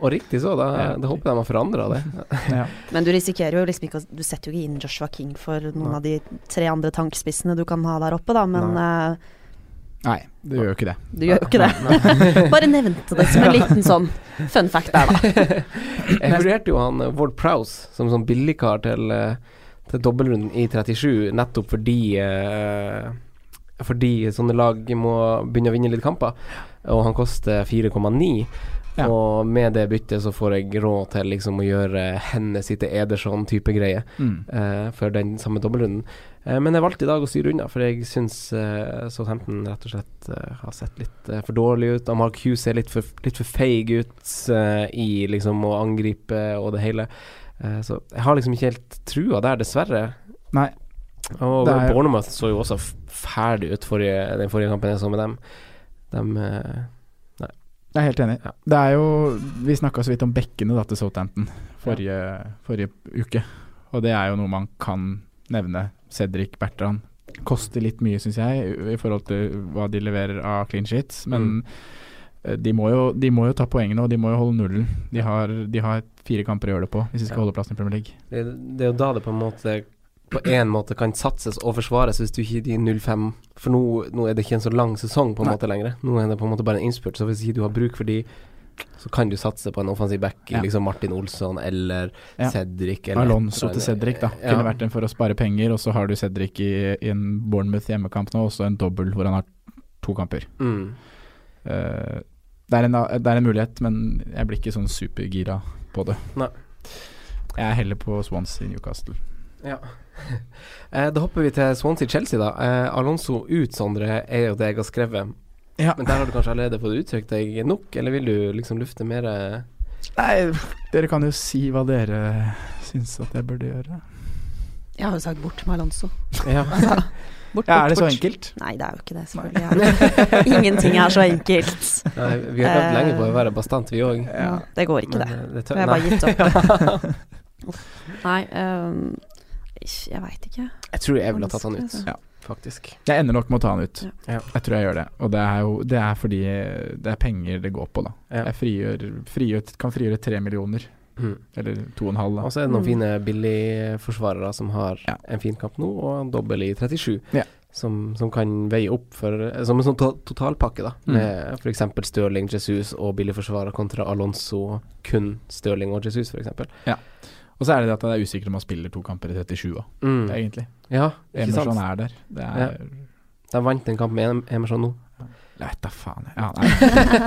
S2: og riktig så. Da, da håper jeg de har forandra det.
S3: Ja.
S4: Men du risikerer jo liksom ikke å Du setter jo ikke inn Joshua King for noen
S2: Nei.
S4: av de tre andre tankspissene du kan ha der oppe, da, men eh,
S3: Nei, det gjør jo ikke det.
S4: du gjør jo ikke det. Bare nevnte det som en liten sånn fun fact der, da.
S2: Jeg vurderte jo han eh, Ward Prowse som sånn billigkar til, eh, til dobbeltrunden i 37, nettopp fordi eh, fordi sånne lag må begynne å vinne litt kamper, og han koster 4,9.
S3: Ja.
S2: Og med det byttet så får jeg råd til liksom å gjøre Hennes til Ederson-type greie.
S3: Mm.
S2: eh, for den samme dobbeltrunden. Eh, men jeg valgte i dag å styre unna, for jeg syns eh, Southampton rett og slett eh, har sett litt eh, for dårlig ut. Og Mark Hughes ser litt for, litt for feig ut eh, i liksom å angripe og det hele. Eh, så jeg har liksom ikke helt trua der, dessverre.
S3: Nei.
S2: Og
S3: Det er-
S2: Bournemouth så jo også f- ferdig ut forrige, den forrige kampen jeg så med dem. Dem eh,
S3: Jeg er helt enig.
S2: Ja.
S3: Det er jo Vi snakka så vidt om bekkene da, til Southampton forrige, forrige uke. Og det er jo noe man kan nevne. Cedric Bertrand koster litt mye, syns jeg, i- i forhold til hva de leverer av clean sheets. Men
S2: Mm.
S3: eh, de, må jo, de må jo ta poengene, og de må jo holde nullen. De har, de har fire kamper å gjøre det på hvis de skal
S2: Ja.
S3: holde plassen i Premier League.
S2: det, det er jo da det på en måte på en måte kan satses og forsvares hvis du ikke gir 0-5 For nå, nå er det ikke en så lang sesong på en
S3: Nei.
S2: måte lenger. Nå er det på en måte bare en innspurt, så hvis ikke du har bruk for de, så kan du satse på en offensiv back, i
S3: Ja.
S2: liksom Martin Olsson eller
S3: Ja.
S2: Cedric eller
S3: Alonso til Cedric, da.
S2: Ja.
S3: Kunne vært en for å spare penger, og så har du Cedric i, i en Bournemouth hjemmekamp nå, og så en dobbel hvor han har to kamper.
S2: Mm.
S3: Eh, det, er en, det er en mulighet, men jeg blir ikke sånn supergira på det.
S2: Nei.
S3: Jeg er heller på Swansea Newcastle.
S2: Ja. Eh, da hopper vi til Swansea-Chelsea, da. Eh, Alonso ut, Sondre, er jo det jeg har skrevet.
S3: Ja.
S2: Men der har du kanskje allerede fått uttrykt deg nok, eller vil du liksom lufte mer eh,
S3: Nei, dere kan jo si hva dere syns at jeg burde gjøre.
S4: Jeg har jo sagt bort med Alonso.
S2: Ja.
S4: Bort, bort,
S3: Ja, er det så
S4: bort.
S3: enkelt?
S4: Nei, det er jo ikke det, selvfølgelig. Ingenting er så enkelt.
S2: Nei, vi har
S4: Eh.
S2: klart lenge på å være bastant, vi òg.
S3: Ja.
S4: Det går ikke, det.
S2: Men, eh, det
S4: Så
S2: tør,
S4: jeg
S2: nei.
S4: bare gitt opp. Nei, ehm, ish, jeg veit ikke.
S2: Jeg tror jeg ville ha tatt han ut,
S4: Vanskelig,
S3: altså.
S2: faktisk.
S3: Jeg ender nok med å ta han ut.
S2: Ja.
S3: Jeg tror jeg gjør det. Og det er jo det er fordi det er penger det går på, da.
S2: Ja.
S3: Jeg frigjør, frigjør, kan frigjøre tre millioner,
S2: Mm.
S3: eller to og en halv.
S2: Og
S3: da.
S2: så er det noen
S4: Mm.
S2: fine billigforsvarere som har
S3: Ja.
S2: en fin kamp nå, og en dobbel i 37,
S3: Ja.
S2: som, som kan veie opp for Som en sånn to totalpakke, da,
S3: Mm.
S2: med f.eks. Stirling, Jesus og billigforsvarer kontra Alonso, kun Stirling og Jesus, f.eks.
S3: Og så er det det at jeg er usikker om han spiller to kamper i 37 òg,
S2: Mm.
S3: egentlig.
S2: Ja, ikke
S3: Emerson
S2: sant?
S3: er der. Det er
S2: De vant en kamp med Em- Emerson nå.
S3: Jeg vet da faen. jeg. Ja, nei.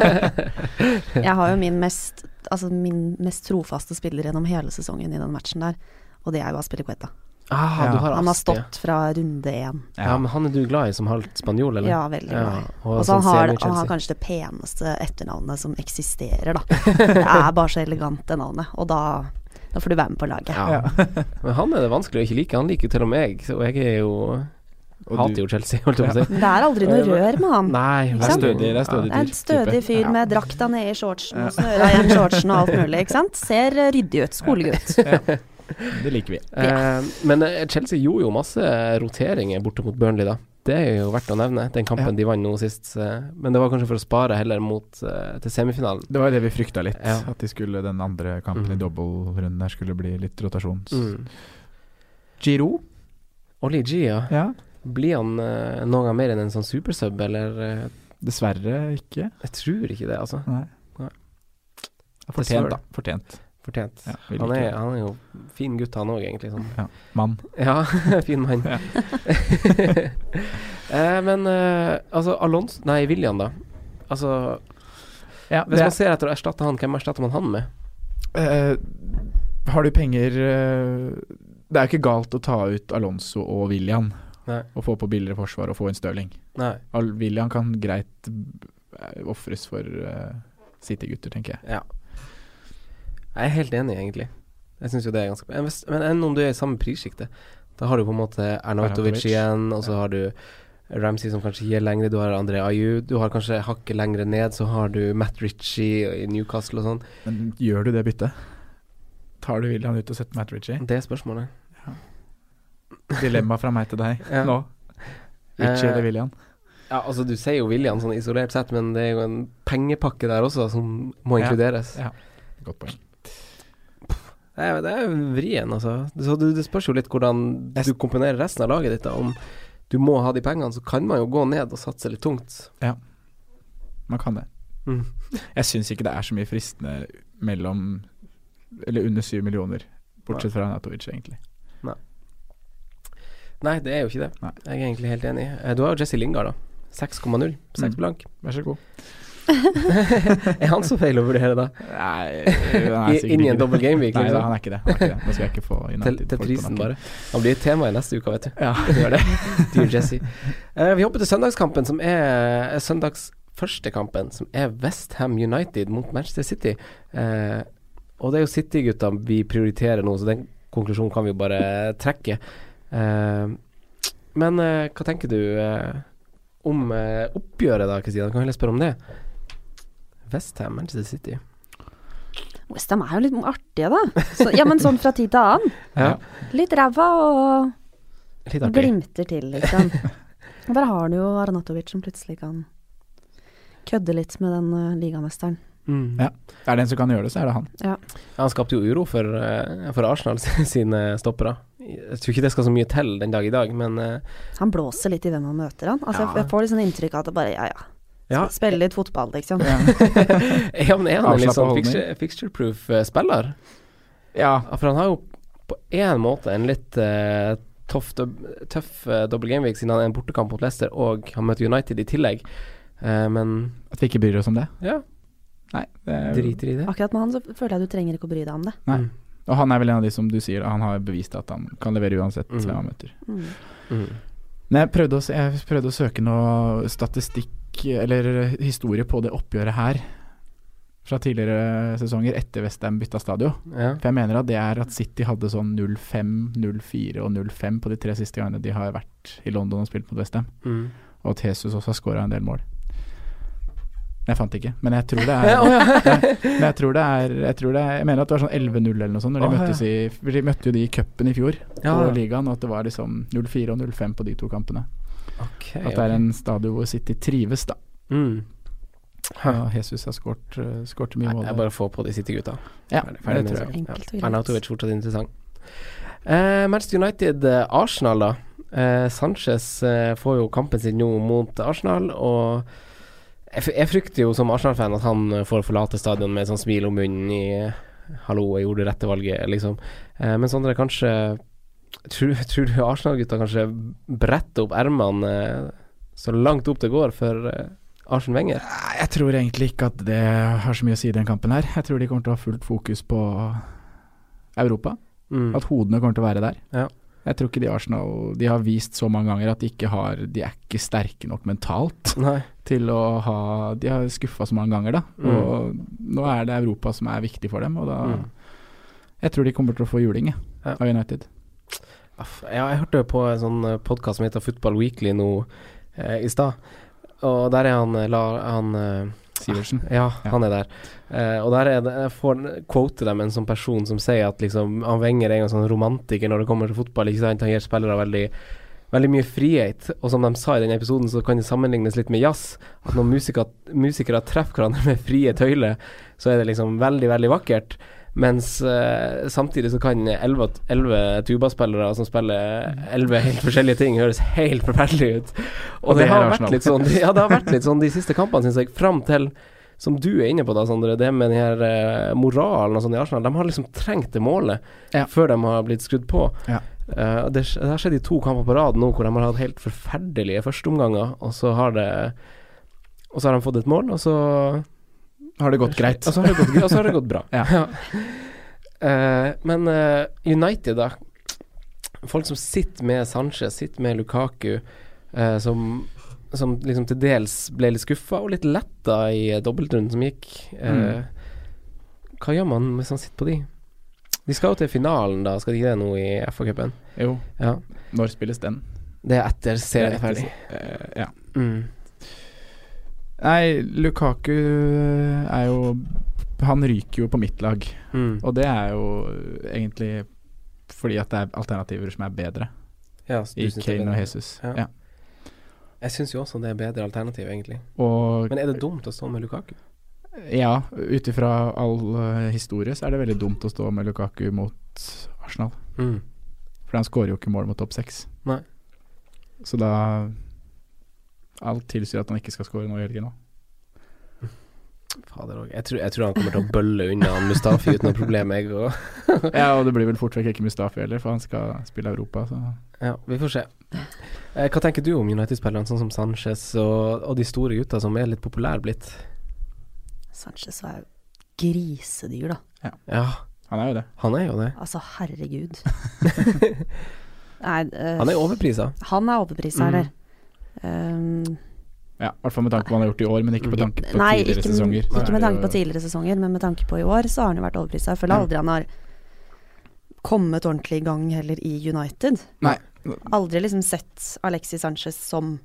S4: Jeg har jo min mest, altså min mest trofaste spiller gjennom hele sesongen i den matchen der, og det er jo Aspilicueta.
S2: Ah,
S3: Ja.
S2: du har
S4: Han har
S2: Asti, ja.
S4: stått fra runde én.
S2: Ja, men han er du glad i som halvt spanjol, eller?
S4: Ja, veldig glad i.
S2: og
S4: Og så
S2: sånn
S4: han, har, han
S2: semi-Chelsea.
S4: har kanskje det peneste etternavnet som eksisterer, da. Det er bare så elegant, det navnet. Og da, da får du være med på laget.
S2: Ja. Men han er det vanskelig å ikke like. Han liker jo til og med meg, så- og jeg er jo Hater jo Chelsea, holdt jeg på å si.
S4: Men det er aldri noe rør med han.
S2: Nei,
S4: Ikke
S2: veldig-
S4: sant?
S3: Stødig, det er stødig.
S4: Det er en stødig fyr
S2: Ja.
S4: med drakta nede i shortsen og snøra igjen shortsen og alt mulig, ikke sant. Ser eh, ryddig ut. Skolegutt.
S3: Det liker vi.
S2: Eh, men eh, Chelsea gjorde jo masse roteringer borte mot Burnley, da. Det er jo verdt å nevne, den kampen
S3: Ja.
S2: de vant nå sist. eh, Men det var kanskje for å spare heller mot eh, til semifinalen.
S3: Det var jo det vi frykta litt.
S2: Ja.
S3: At de skulle, den andre kampen
S2: Mm.
S3: i dobbeltrunden der skulle bli litt rotasjon.
S2: Mm.
S3: Giro?
S2: Oli G, ja.
S3: Ja.
S2: Blir han eh, noen gang mer enn en sånn supersub, eller eh,
S3: Dessverre ikke.
S2: Jeg tror ikke det, altså.
S3: Nei.
S2: Nei.
S3: Fortjent, da. Fortjent.
S2: Fortjent.
S3: Ja, vi
S2: Han
S3: liker
S2: er,
S3: det.
S2: han er jo fin gutt, han òg, egentlig. Sånn.
S3: Mann.
S2: Ja, fin mann.
S3: Ja.
S2: eh, men eh, altså, Alonso Nei, William, da. Altså,
S3: Ja,
S2: hvis man ser etter å erstatte han, hvem erstatter man han med?
S3: Eh, har du penger eh, Det er jo ikke galt å ta ut Alonso og William
S2: Nei.
S3: og få på billigere forsvar og få en Stirling.
S2: Nei.
S3: Al William kan greit eh, ofres for eh, City-gutter, tenker jeg.
S2: Ja. Jeg er helt enig, egentlig. Jeg synes jo det er ganske Men hvis- Men enn om du er i samme prissjikte, da har du på en måte Arnautovic
S3: Arnautovic.
S2: igjen, og så har du Ramsey som kanskje gir lengre, du har André Ayew, du har kanskje hakket lengre ned, så har du Matt Ritchie i Newcastle og sånn.
S3: Men gjør du det byttet? Tar du William ut og setter Matt Ritchie?
S2: Det er spørsmålet.
S3: Dilemma fra meg til deg
S2: Ja.
S3: nå. Ritchie
S2: Eh,
S3: eller William?
S2: Ja, altså Du sier jo William sånn isolert sett, men det er jo en pengepakke der også som må
S3: Ja.
S2: inkluderes.
S3: Ja. Godt poeng.
S2: Det er, det er vrien, altså. Så du, det spørs jo litt hvordan du komponerer resten av laget ditt. da Om du må ha de pengene, så kan man jo gå ned og satse litt tungt.
S3: Man kan det.
S2: Mm.
S3: Jeg syns ikke det er så mye fristende mellom Eller under syv millioner, bortsett fra Natovic, egentlig.
S2: Nei, det er jo ikke det.
S3: Nei.
S2: Jeg er egentlig helt enig. Eh, Du har jo Jesse Lingard, da. 6,0. 6
S3: Mm.
S2: blank.
S3: Vær så god.
S2: Er han så feil å vurdere, da?
S3: Nei,
S2: I- inn i en dobbel gameweek,
S3: Nei,
S2: liksom.
S3: da, han er ikke det. Han er ikke det. Nå skal jeg ikke få
S2: Til,
S3: United
S2: til
S3: folk på
S2: prisen,
S3: nakken.
S2: bare. Han blir et tema i neste uke, vet du.
S3: Ja,
S2: Det gjør det. Dear Jesse. Eh, vi hopper til søndagskampen, som er er søndags første kampen, som er Westham United mot Manchester City. Eh, og det er jo City-gutta vi prioriterer nå, så den konklusjonen kan vi jo bare trekke. Eh, men eh, hva tenker du eh, om eh, oppgjøret, da, Kristina? Kan vi heller spørre om det? Westham, Manchester City.
S5: Westham er jo litt artige, da. Så, ja, men sånn fra tid til annen.
S2: Ja.
S5: Litt ræva og
S2: Litt
S5: Og
S2: artig.
S5: glimter til, liksom. Og der har du jo Arnatovic som plutselig kan kødde litt med den eh, ligamesteren.
S2: Mm.
S3: Ja. Er det en som kan gjøre det, så er det han.
S2: Ja, Han skapte jo uro for, eh, for Arsenal sine stoppere. Jeg tror ikke det skal så mye til den dag i dag, men eh,
S5: Han blåser litt i hvem han møter, han. Altså, jeg-
S2: Ja.
S5: jeg får litt sånn inntrykk av at det bare ja, ja.
S2: ja.
S5: Spille litt fotball, liksom.
S2: ja, men er han en litt
S3: Avslappet
S2: sånn
S3: holdning.
S2: fixture- fixture-proof eh, spiller?
S3: Ja.
S2: Ja, For han har jo på én måte en litt eh, tøff, dob tøff eh, double gameweek, siden han er en bortekamp mot Leicester og han møter United i tillegg. Eh, men
S3: At vi ikke bryr oss om det.
S2: ja,
S3: Nei. Det er,
S2: driter i det.
S5: Akkurat med han så føler jeg du trenger ikke å bry deg om det.
S3: Nei.
S2: Mm.
S3: og han er vel en av de som du sier, han har bevist at han kan levere uansett
S2: Mm.
S3: hvem han møter.
S5: Mm.
S2: Mm.
S3: Nei, jeg prøvde å, se- jeg prøvde å søke noe statistikk eller historie på det oppgjøret her fra tidligere sesonger etter Westham bytta stadion.
S2: Ja.
S3: For jeg mener at det er at City hadde sånn 05, 04 og 05 på de tre siste gangene de har vært i London og spilt mot Westham.
S2: Mm.
S3: Og at Jesus også har skåra en del mål. Jeg fant ikke, men jeg tror det er
S2: Ja, å ja.
S3: Men jeg tror det er Jeg, tror det er, jeg mener at det var sånn 11-0 eller noe sånt. Når de,
S2: Å, ja.
S3: møttes i, for de møtte jo de i cupen i fjor,
S2: Ja,
S3: og
S2: ja.
S3: ligaen, og at det var liksom 04 og 05 på de to kampene.
S2: Ok,
S3: At det er en stadion hvor City trives, da.
S2: ok. mm.
S3: Og Jesus har skåret eh, skåret mye
S2: Nei,
S3: mål.
S2: jeg
S3: der.
S2: bare får på de City-gutta.
S3: Ja,
S2: Ferdig- ferdig
S3: det
S2: med
S3: tror jeg.
S2: saken.
S5: Enkelt og
S2: Ja. Arnautovic
S5: greit.
S2: fortsatt interessant. Eh, Manchester United, eh, Arsenal, da. Eh, Sanchez eh, får jo kampen sin nå mot Arsenal, og jeg, fr- jeg frykter jo som Arsenal-fan at han eh, får forlate stadion med et sånt smil om munnen i eh, 'hallo, jeg gjorde det rette valget', liksom. Eh, men Sondre, kanskje Tror, tror du Arsenal-gutta kanskje bretter opp ermene eh, så langt opp det går for eh, Arsen Wenger?
S3: Nei, Jeg tror egentlig ikke at det har så mye å si i den kampen her. Jeg tror de kommer til å ha fullt fokus på Europa.
S2: Mm.
S3: At hodene kommer til å være der.
S2: Ja.
S3: Jeg tror ikke de Arsenal De har vist så mange ganger at de ikke har De er ikke sterke nok mentalt
S2: Nei.
S3: til å ha De har skuffa så mange ganger, da.
S2: Mm.
S3: Og nå er det Europa som er viktig for dem, og da
S2: Mm.
S3: Jeg tror de kommer til å få juling, jeg,
S2: Ja.
S3: av United.
S2: Aff, Ah, Ja, jeg hørte på en sånn podkast som heter Football Weekly nå eh, i stad. Og der er han, eh, la, han eh,
S3: Sivertsen.
S2: Ja,
S3: Ja.
S2: han er der. Eh, og der er det, jeg får quote dem en sånn person som sier at liksom, han Wenger er en sånn romantiker når det kommer til fotball. Ikke sant? Han gir spillere veldig, veldig mye frihet. Og som de sa i den episoden, så kan det sammenlignes litt med jazz. At når musikere, musikere treffer hverandre med frie tøyler, så er det liksom veldig, veldig vakkert. Mens eh, samtidig så kan elleve elleve tubaspillere som spiller elleve helt forskjellige ting, høres helt forferdelig ut. Og,
S3: Og
S2: det,
S3: det er
S2: har
S3: Arsenal.
S2: vært litt sånn Ja, det har vært litt sånn de siste kampene, syns jeg, fram til som du er inne på da, Sondre, det med den her eh, moralen og sånn i Arsenal. De har liksom trengt det målet
S3: Ja.
S2: før de har blitt skrudd på.
S3: Ja.
S2: Eh, og det, sk- det har skjedd i to kamper på rad nå hvor de har hatt helt forferdelige førsteomganger, og så har det Og så har de fått et mål, og så
S3: Har det gått greit?
S2: Og så Ah, har det gått, gre- og så har det gått bra.
S3: Ja.
S2: Eh, men eh, United, da. Folk som sitter med Sanchez, sitter med Lukaku, eh, som, som liksom til dels ble litt skuffa og litt letta i eh, dobbeltrunden som gikk. Eh,
S3: Mm.
S2: Hva gjør man hvis man sitter på de? De skal jo til finalen, da, skal de ikke det nå i FA-cupen?
S3: jo.
S2: Ja.
S3: Når spilles den?
S2: Det er etter serien er ferdig.
S3: Eh, ja.
S2: Mm.
S3: Nei, Lukaku eh, er jo Han ryker jo på mitt lag,
S2: Mm.
S3: og det er jo egentlig fordi at det er alternativer som er bedre
S2: Ja, så du
S3: i
S2: synes det er
S3: Kane
S2: bedre.
S3: og Jesus.
S2: Ja.
S3: Ja.
S2: Jeg syns jo også det er bedre alternativ, egentlig.
S3: Og
S2: Men er det dumt å stå med Lukaku?
S3: ja, ut ifra all eh, historie så er det veldig dumt å stå med Lukaku mot Arsenal.
S2: Mm.
S3: For han skårer jo ikke mål mot topp seks.
S2: Nei.
S3: Så da Alt tilsier at han ikke skal skåre nå i helgen òg.
S2: Fader òg. Jeg, tror- jeg tror han kommer til å bølle unna han Mustafi uten noe problem, jeg òg.
S3: Ja, og det blir vel fort vekk ikke Mustafi heller, for han skal spille Europa, så
S2: Ja, vi får se. Eh, hva tenker du om United-spillerne, sånn som Sanchez og, og de store gutta som er litt populære blitt?
S4: Sanchez var jo grisedyr, da.
S2: Ja,
S3: han er jo det.
S2: han er jo det.
S4: Altså, herregud. Nei, eh,
S2: Han er overprisa.
S4: han er overprisa,
S2: Mm.
S4: eller? Um,
S3: Ja, I hvert fall med tanke på hva han har gjort i år, men ikke med tanke på
S4: nei,
S3: tidligere
S4: ikke,
S3: sesonger. så
S4: ikke
S3: er det Mm.
S4: med tanke
S3: jo-
S4: på tidligere sesonger, men med tanke på i år, så har han jo vært overprisa. Jeg føler
S3: Ja.
S4: aldri han har kommet ordentlig i gang heller i United.
S3: Nei.
S4: Aldri liksom sett Alexis Sanchez som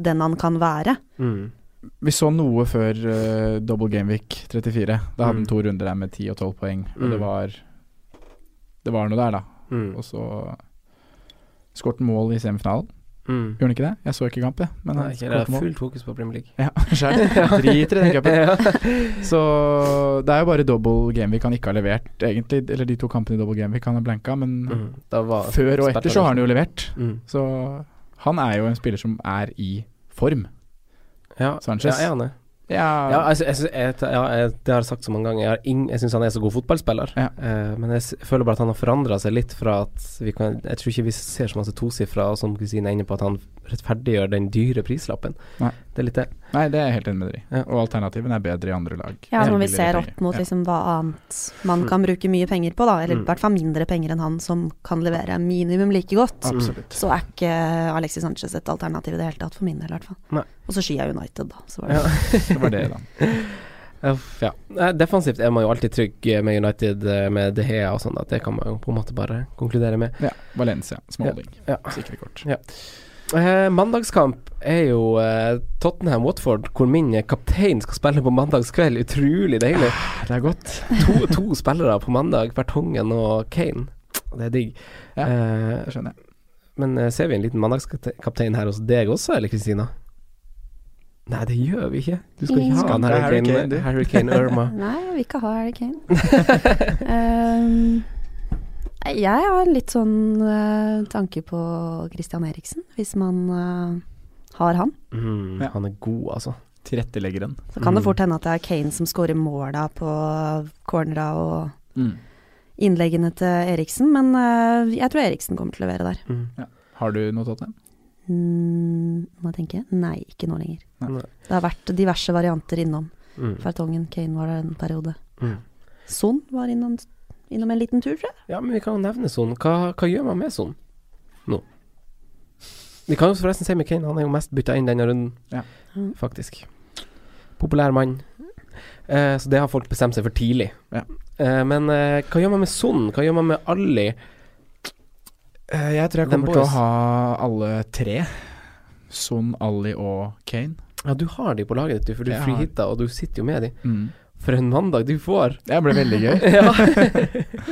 S4: den han kan være.
S2: Mm.
S3: Vi så noe før eh, double gameweek 34. Da
S2: Mm.
S3: hadde han to runder der med 10 og 12 poeng, og
S2: Mm.
S3: det var Det var noe der, da.
S2: Mm.
S3: Og så skåret han mål i semifinalen.
S2: Mm.
S3: Gjorde han ikke det? Jeg så ikke kampen, men
S2: Nei,
S3: han
S2: ikke, det
S3: skåret
S2: er
S3: mål.
S2: fullt fokus på Premier League.
S3: Ja, skjønner. Jeg Driter i den cupen.
S2: Ja.
S3: Så det er jo bare double gameweek han ikke har levert, egentlig. Eller de to kampene i double gameweek han har blanka, men
S2: Mm. Da var
S3: før og etter så har han jo levert.
S2: mm.
S3: Så han er jo en spiller som er i form.
S2: ja.
S3: Sanchez.
S2: Ja, er han det? Ja,
S3: Ja,
S2: altså, jeg, synes- jeg, ja jeg, det har jeg sagt så mange ganger. Jeg, har ing- jeg syns han er så god fotballspiller,
S3: Ja.
S2: Eh, men jeg s- føler bare at han har forandra seg litt fra at vi kan Jeg tror ikke vi ser så masse tosifra, og som Kristine er inne på, at han rettferdiggjør den dyre prislappen.
S3: Nei.
S2: Det er litt det.
S3: Nei, det er jeg helt enig med dere i.
S2: Ja.
S3: Og alternativene er bedre i andre lag.
S4: Ja, når vi
S3: Billigere
S4: ser
S3: penger.
S4: opp mot
S3: Ja.
S4: liksom hva annet man kan bruke mye penger på, da, eller i
S2: Mm.
S4: hvert fall mindre penger enn han som kan levere minimum like godt,
S3: Absolutt.
S4: så er ikke Alexis Sanchez et alternativ i det hele tatt, for min del i hvert fall.
S2: Nei.
S4: Og så skyer jeg United, da. Så var det.
S2: Ja.
S3: Det var det, da.
S2: Uff, ja. Nei, Defensivt er man jo alltid trygg eh, med United, eh, med De Gea og sånn, at det kan man jo på en måte bare konkludere med.
S3: Ja, Valencia. Smalling.
S2: Ja.
S3: Sikre kort.
S2: Eh, mandagskamp er jo eh, Tottenham-Watford, hvor min eh, kaptein skal spille på mandagskveld. Utrolig deilig.
S3: Ah, Det er godt.
S2: to, to spillere på mandag, Vertongen og Kane. Det er digg.
S3: Ja.
S2: Eh,
S3: Det skjønner jeg.
S2: men eh, ser vi en liten mandagskaptein her hos deg også, eller Kristina? Nei, det gjør vi ikke. Du skal ikke
S4: Ingen
S2: ha
S3: skal
S2: han
S3: ikke ha
S2: Harry
S3: Harry
S2: Kane,
S3: Kane, du.
S2: Harry Kane Irma.
S4: sånn, Nei, jeg vil ikke ha Harry Kane. Ehm, nei, jeg har litt sånn eh, tanke på Christian Eriksen, hvis man eh, har han.
S2: Mm,
S3: Ja.
S2: Han er god, altså.
S3: Tilretteleggeren.
S4: Så kan det
S2: Mm.
S4: fort hende at det er Kane som scorer måla på cornera og
S3: Mm.
S4: innleggene til Eriksen, men eh, jeg tror Eriksen kommer til å levere der.
S2: Mm.
S3: Har du noe, Tottenham?
S4: Mm, må jeg tenke. Nei, ikke nå lenger.
S3: Nei.
S2: Nei.
S4: Det har vært diverse varianter innom.
S2: Mm.
S4: Fertongen, Kane var der en periode.
S2: Mm.
S4: Son var innom, innom en liten tur, tror jeg.
S2: Ja, men vi kan jo nevne Son. Hva, hva gjør man med Son? Vi kan jo forresten si McCain, han er jo mest bytta inn denne runden,
S3: Ja.
S5: Mm.
S2: faktisk. Populær mann. Eh, så det har folk bestemt seg for tidlig.
S3: Ja.
S2: Eh, men eh, hva gjør man med Son? Hva gjør man med Ali?
S3: Eh, Jeg tror jeg
S2: Den
S3: kommer til å
S2: boys.
S3: ha alle tre. Son, Ali og Kane.
S2: Ja, du har de på laget ditt, du, for du
S3: Jeg
S2: er
S3: har-
S2: frihitta, og du sitter jo med de. For en mandag du får!
S3: Mm. Det ble veldig gøy.
S2: ja.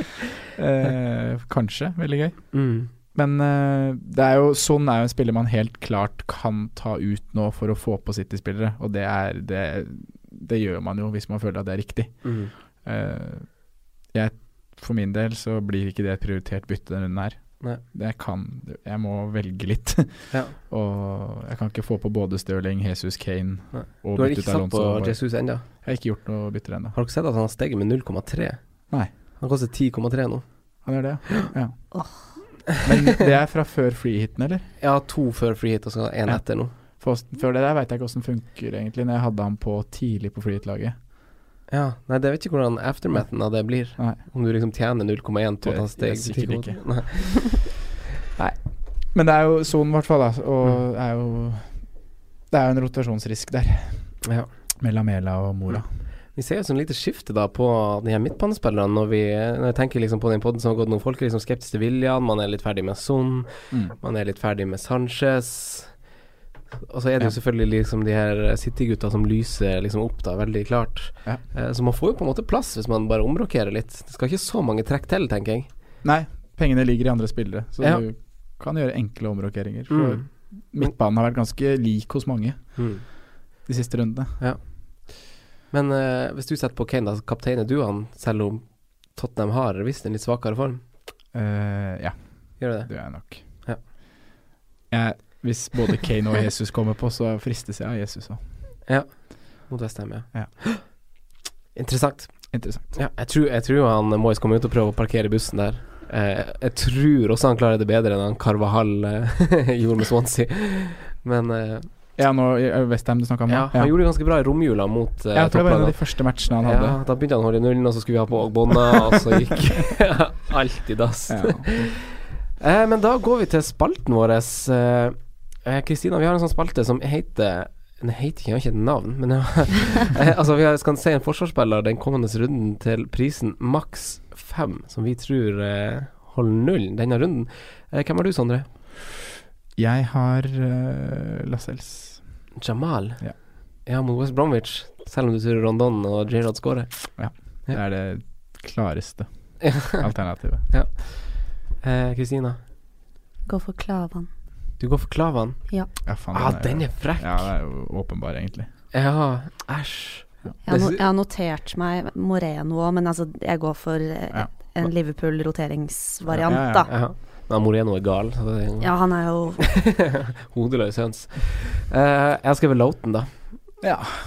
S3: Eh, kanskje veldig gøy.
S2: mm.
S3: Men eh, det er jo, Son er jo en spiller man helt klart kan ta ut nå for å få på City-spillere, og det, er, det, det gjør man jo hvis man føler at det er riktig.
S2: Mm.
S3: Eh, jeg, for min del så blir ikke det et prioritert bytte denne runden her.
S2: Nei.
S3: Jeg kan Jeg må velge litt.
S2: Ja.
S3: og jeg kan ikke få på både Stirling, Jesus Kane
S2: Nei.
S3: og
S2: Du har
S3: bytte
S2: ikke
S3: ut
S2: satt
S3: Alonso.
S2: på
S3: Bare-
S2: Jesus ennå?
S3: Jeg har ikke gjort noe bytter ennå.
S2: Har dere sett at han har steget med 0,3?
S3: Nei.
S2: Han koster 10,3 nå.
S3: Han gjør det, ja. ja. Men det er fra før free-hiten, eller?
S2: Ja, to før free hit, og så én
S3: Ja.
S2: etter nå.
S3: For, før det der veit jeg ikke åssen funker egentlig, når jeg hadde han på tidlig på free-hit-laget.
S2: Ja, nei, det vet ikke hvordan aftermathen av det blir.
S3: Nei.
S2: Om du liksom tjener 0,1
S3: Det
S2: på at han
S3: vet jeg
S2: steg til
S3: sikkert
S2: 10,3. Nei.
S3: Men det er jo sonen, i hvert fall, da. Og
S2: Mm.
S3: er jo Det er jo en rotasjonsrisk der,
S2: Ja.
S3: mellom Mela og Mora.
S2: Vi ser jo sånn lite skifte da på de her midtbanespillerne når vi når jeg tenker liksom på den podden som har gått noen folk er liksom skeptiske til William, man er litt ferdig med Son,
S3: Mm.
S2: man er litt ferdig med Sanchez. Og så er det jo
S3: Ja.
S2: selvfølgelig liksom de her City-gutta som lyser liksom opp da, veldig klart.
S3: Ja.
S2: Eh, så man får jo på en måte plass hvis man bare omrokerer litt. Det skal ikke så mange trekk til, tenker jeg.
S3: Nei, pengene ligger i andre spillere, så
S2: Ja.
S3: du kan gjøre enkle omrokeringer. For
S2: Mm.
S3: midtbanen har vært ganske lik hos mange
S2: Mm.
S3: de siste rundene.
S2: Men eh, hvis du setter på Kane, da, så kapteiner du han, selv om Tottenham har visst en litt svakere form?
S3: Eh, ja,
S2: Gjør du det?
S3: det gjør jeg nok.
S2: Ja.
S3: Jeg- hvis både Kane og Jesus kommer på, så fristes jeg av Jesus òg.
S2: Mot Westham, ja.
S3: Ja.
S2: Interessant.
S3: Interessant.
S2: Ja, jeg tror, jeg tror han Moyes kommer ut og prøver å parkere bussen der. Eh, jeg tror også han klarer det bedre enn han Carvahall eh, gjorde med Swansea. Men eh,
S3: Ja, nå Westham du snakka om? nå?
S2: ja, han gjorde det ganske bra i romjula mot eh,
S3: Ja, jeg tror det var en av
S2: topplagene.
S3: de første matchene han
S2: Ja,
S3: hadde.
S2: da begynte han å holde i nullen, og så skulle vi ha på Ogbonna, og så gikk alt i dass.
S3: Ja.
S2: Eh, men da går vi til spalten vår. Eh, eh, Kristina, vi har en sånn spalte som heter Den heter ikke, jeg har ikke et navn, men eh, Altså, vi har- skal si en forsvarsspiller den kommende runden til prisen maks fem, som vi tror eh, holder nullen denne runden. Eh, hvem har du, Sondre?
S3: Jeg har uh, Lascelles.
S2: Jamal?
S3: Ja.
S2: Ja, mot West Bromwich, selv om du tror Rondon og Gerrard skårer.
S3: Det er det klareste
S2: Ja.
S3: alternativet.
S2: Eh, Kristina,
S5: Gå for Klavan.
S2: du går for Klavan.
S3: Ja, faen,
S2: Ah, den er frekk!
S3: Ja, det er jo åpenbar, egentlig.
S2: Ja, æsj.
S5: Jeg har, no, jeg har notert meg Moreno òg, men altså, jeg går for eh,
S3: Ja.
S5: en Liverpool-roteringsvariant,
S3: Ja, ja, ja.
S5: da.
S2: Ja. Nei, Moreno er gal. Så det er
S5: Ja, han er jo
S2: Hodeløs høns. Eh, jeg har skrevet Loughton, da.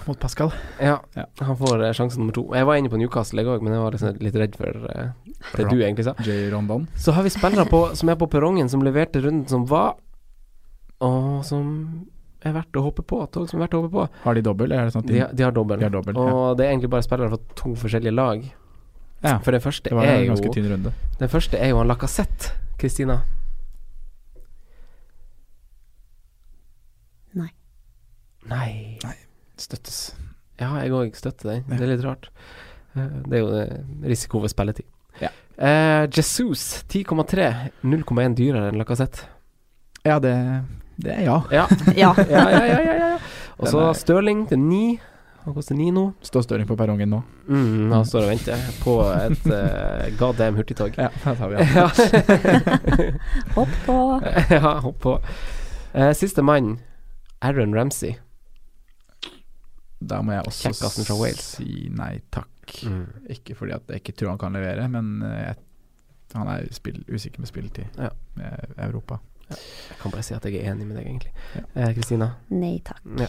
S3: Mot Pascal.
S2: Ja,
S3: Ja.
S2: Han får eh, sjanse nummer to. Jeg var inne på Newcastle i går, men jeg var liksom litt redd for eh, det du egentlig sa.
S3: J. Rondon.
S2: Så har vi spillere på, som er på perrongen, som leverte runden som var, og som er verdt å hoppe på. Tog som er verdt å hoppe på.
S3: Har de dobbel, eller er det sånn at de,
S2: De, har- de har dobbel.
S3: de har dobbel?
S2: og
S3: Ja.
S2: det er egentlig bare spillere fra to forskjellige lag.
S3: ja.
S2: For den første,
S3: Det var
S2: er
S3: en
S2: jo,
S3: ganske tynn runde.
S2: den første er jo han Lacassette, Kristina.
S5: Nei.
S2: Nei.
S3: Støttes.
S2: Ja, jeg òg støtter den. Det er litt rart. Eh, Det er jo eh, risiko ved spilletid.
S3: Ja.
S2: Eh, Jesus 10,3. 0,1 dyrere enn Lacassette.
S3: Ja, det, det er ja.
S2: Ja.
S5: Ja.
S2: ja, ja, ja, ja, ja. Og så
S3: Den er-
S2: Stirling til 9. Han koster 9 nå.
S3: Stå Støring på perrongen nå.
S2: Mm, han står og venter på et eh, god damn hurtigtog.
S3: Ja, da tar vi han.
S2: Ja.
S5: Hopp på.
S2: ja, hopp på. Eh, siste mann, Aaron Ramsey.
S3: Da må jeg også
S2: Kjekkasen fra Wales.
S3: si nei takk.
S2: Mm.
S3: Ikke fordi at jeg ikke tror han kan levere, men eh, jeg, han er spill, usikker med spilletid
S2: Ja.
S3: med Europa.
S2: Jeg kan bare si at jeg er enig med deg, egentlig.
S3: Ja.
S2: Eh, Kristina.
S5: Nei takk.
S2: Ja.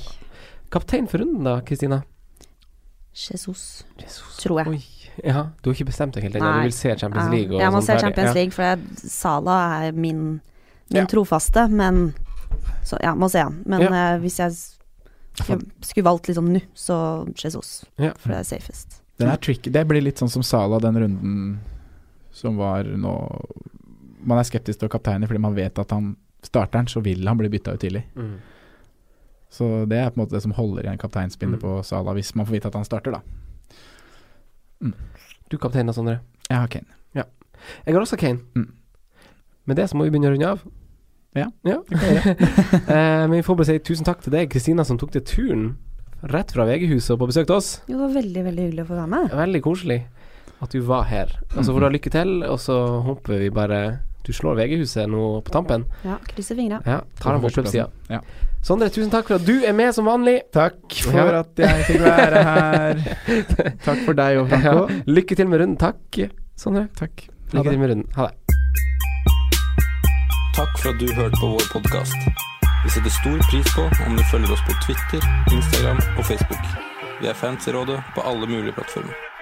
S2: Kaptein for runden, da, Kristina?
S5: Jesus,
S2: Jesus.
S5: tror jeg.
S2: Oi. Ja, du har ikke bestemt deg helt ennå.
S5: Nei.
S2: Du vil se Champions League og
S5: jeg må
S2: sånn
S5: se
S2: ferdig.
S5: Champions
S2: Ja.
S5: League, for jeg, Sala er min, min
S3: Ja.
S5: trofaste, men Så ja, må se han. Men eh, hvis jeg s-
S3: Faen.
S5: skulle valgt liksom nå, så Jesus,
S2: Ja.
S5: for det er safest.
S3: Den er tricky. Det blir litt sånn som Sala den runden som var nå Man er skeptisk til kapteiner fordi man vet at han starteren, så vil han bli bytta ut tidlig.
S2: Mm.
S3: Så det er på en måte det som holder igjen kapteinspinnet
S2: Mm.
S3: på Sala, hvis man får vite at han starter, da.
S2: Du kaptein da, Sondre.
S3: Jeg har Kane.
S2: Jeg har også Kane.
S3: Mm.
S2: Med det så må vi begynne å runde av.
S3: Ja,
S2: Eh, men vi får bare si tusen takk til deg, Kristina, som tok deg turen rett fra VG-huset og på besøk til oss.
S4: Jo, det var veldig, veldig hyggelig å få være med.
S2: Veldig koselig at du var her. Og så får du ha lykke til, og så håper vi bare du slår VG-huset nå på tampen.
S4: Ja, krysser fingra.
S2: Ja, tar han på oppløpssida.
S3: Ja.
S2: Sondre, tusen takk for at du er med som vanlig.
S3: Takk for
S2: Ja.
S3: at jeg fikk være her. Takk for deg og Franco.
S2: Ja, lykke til med runden. Takk, Sondre.
S3: Takk. Ha
S2: Lykke
S3: det.
S2: til med runden. Ha det.
S1: Takk for at du hørte på vår podkast. Vi setter stor pris på om du følger oss på Twitter, Instagram og Facebook. Vi er fans i rådet på alle mulige plattformer.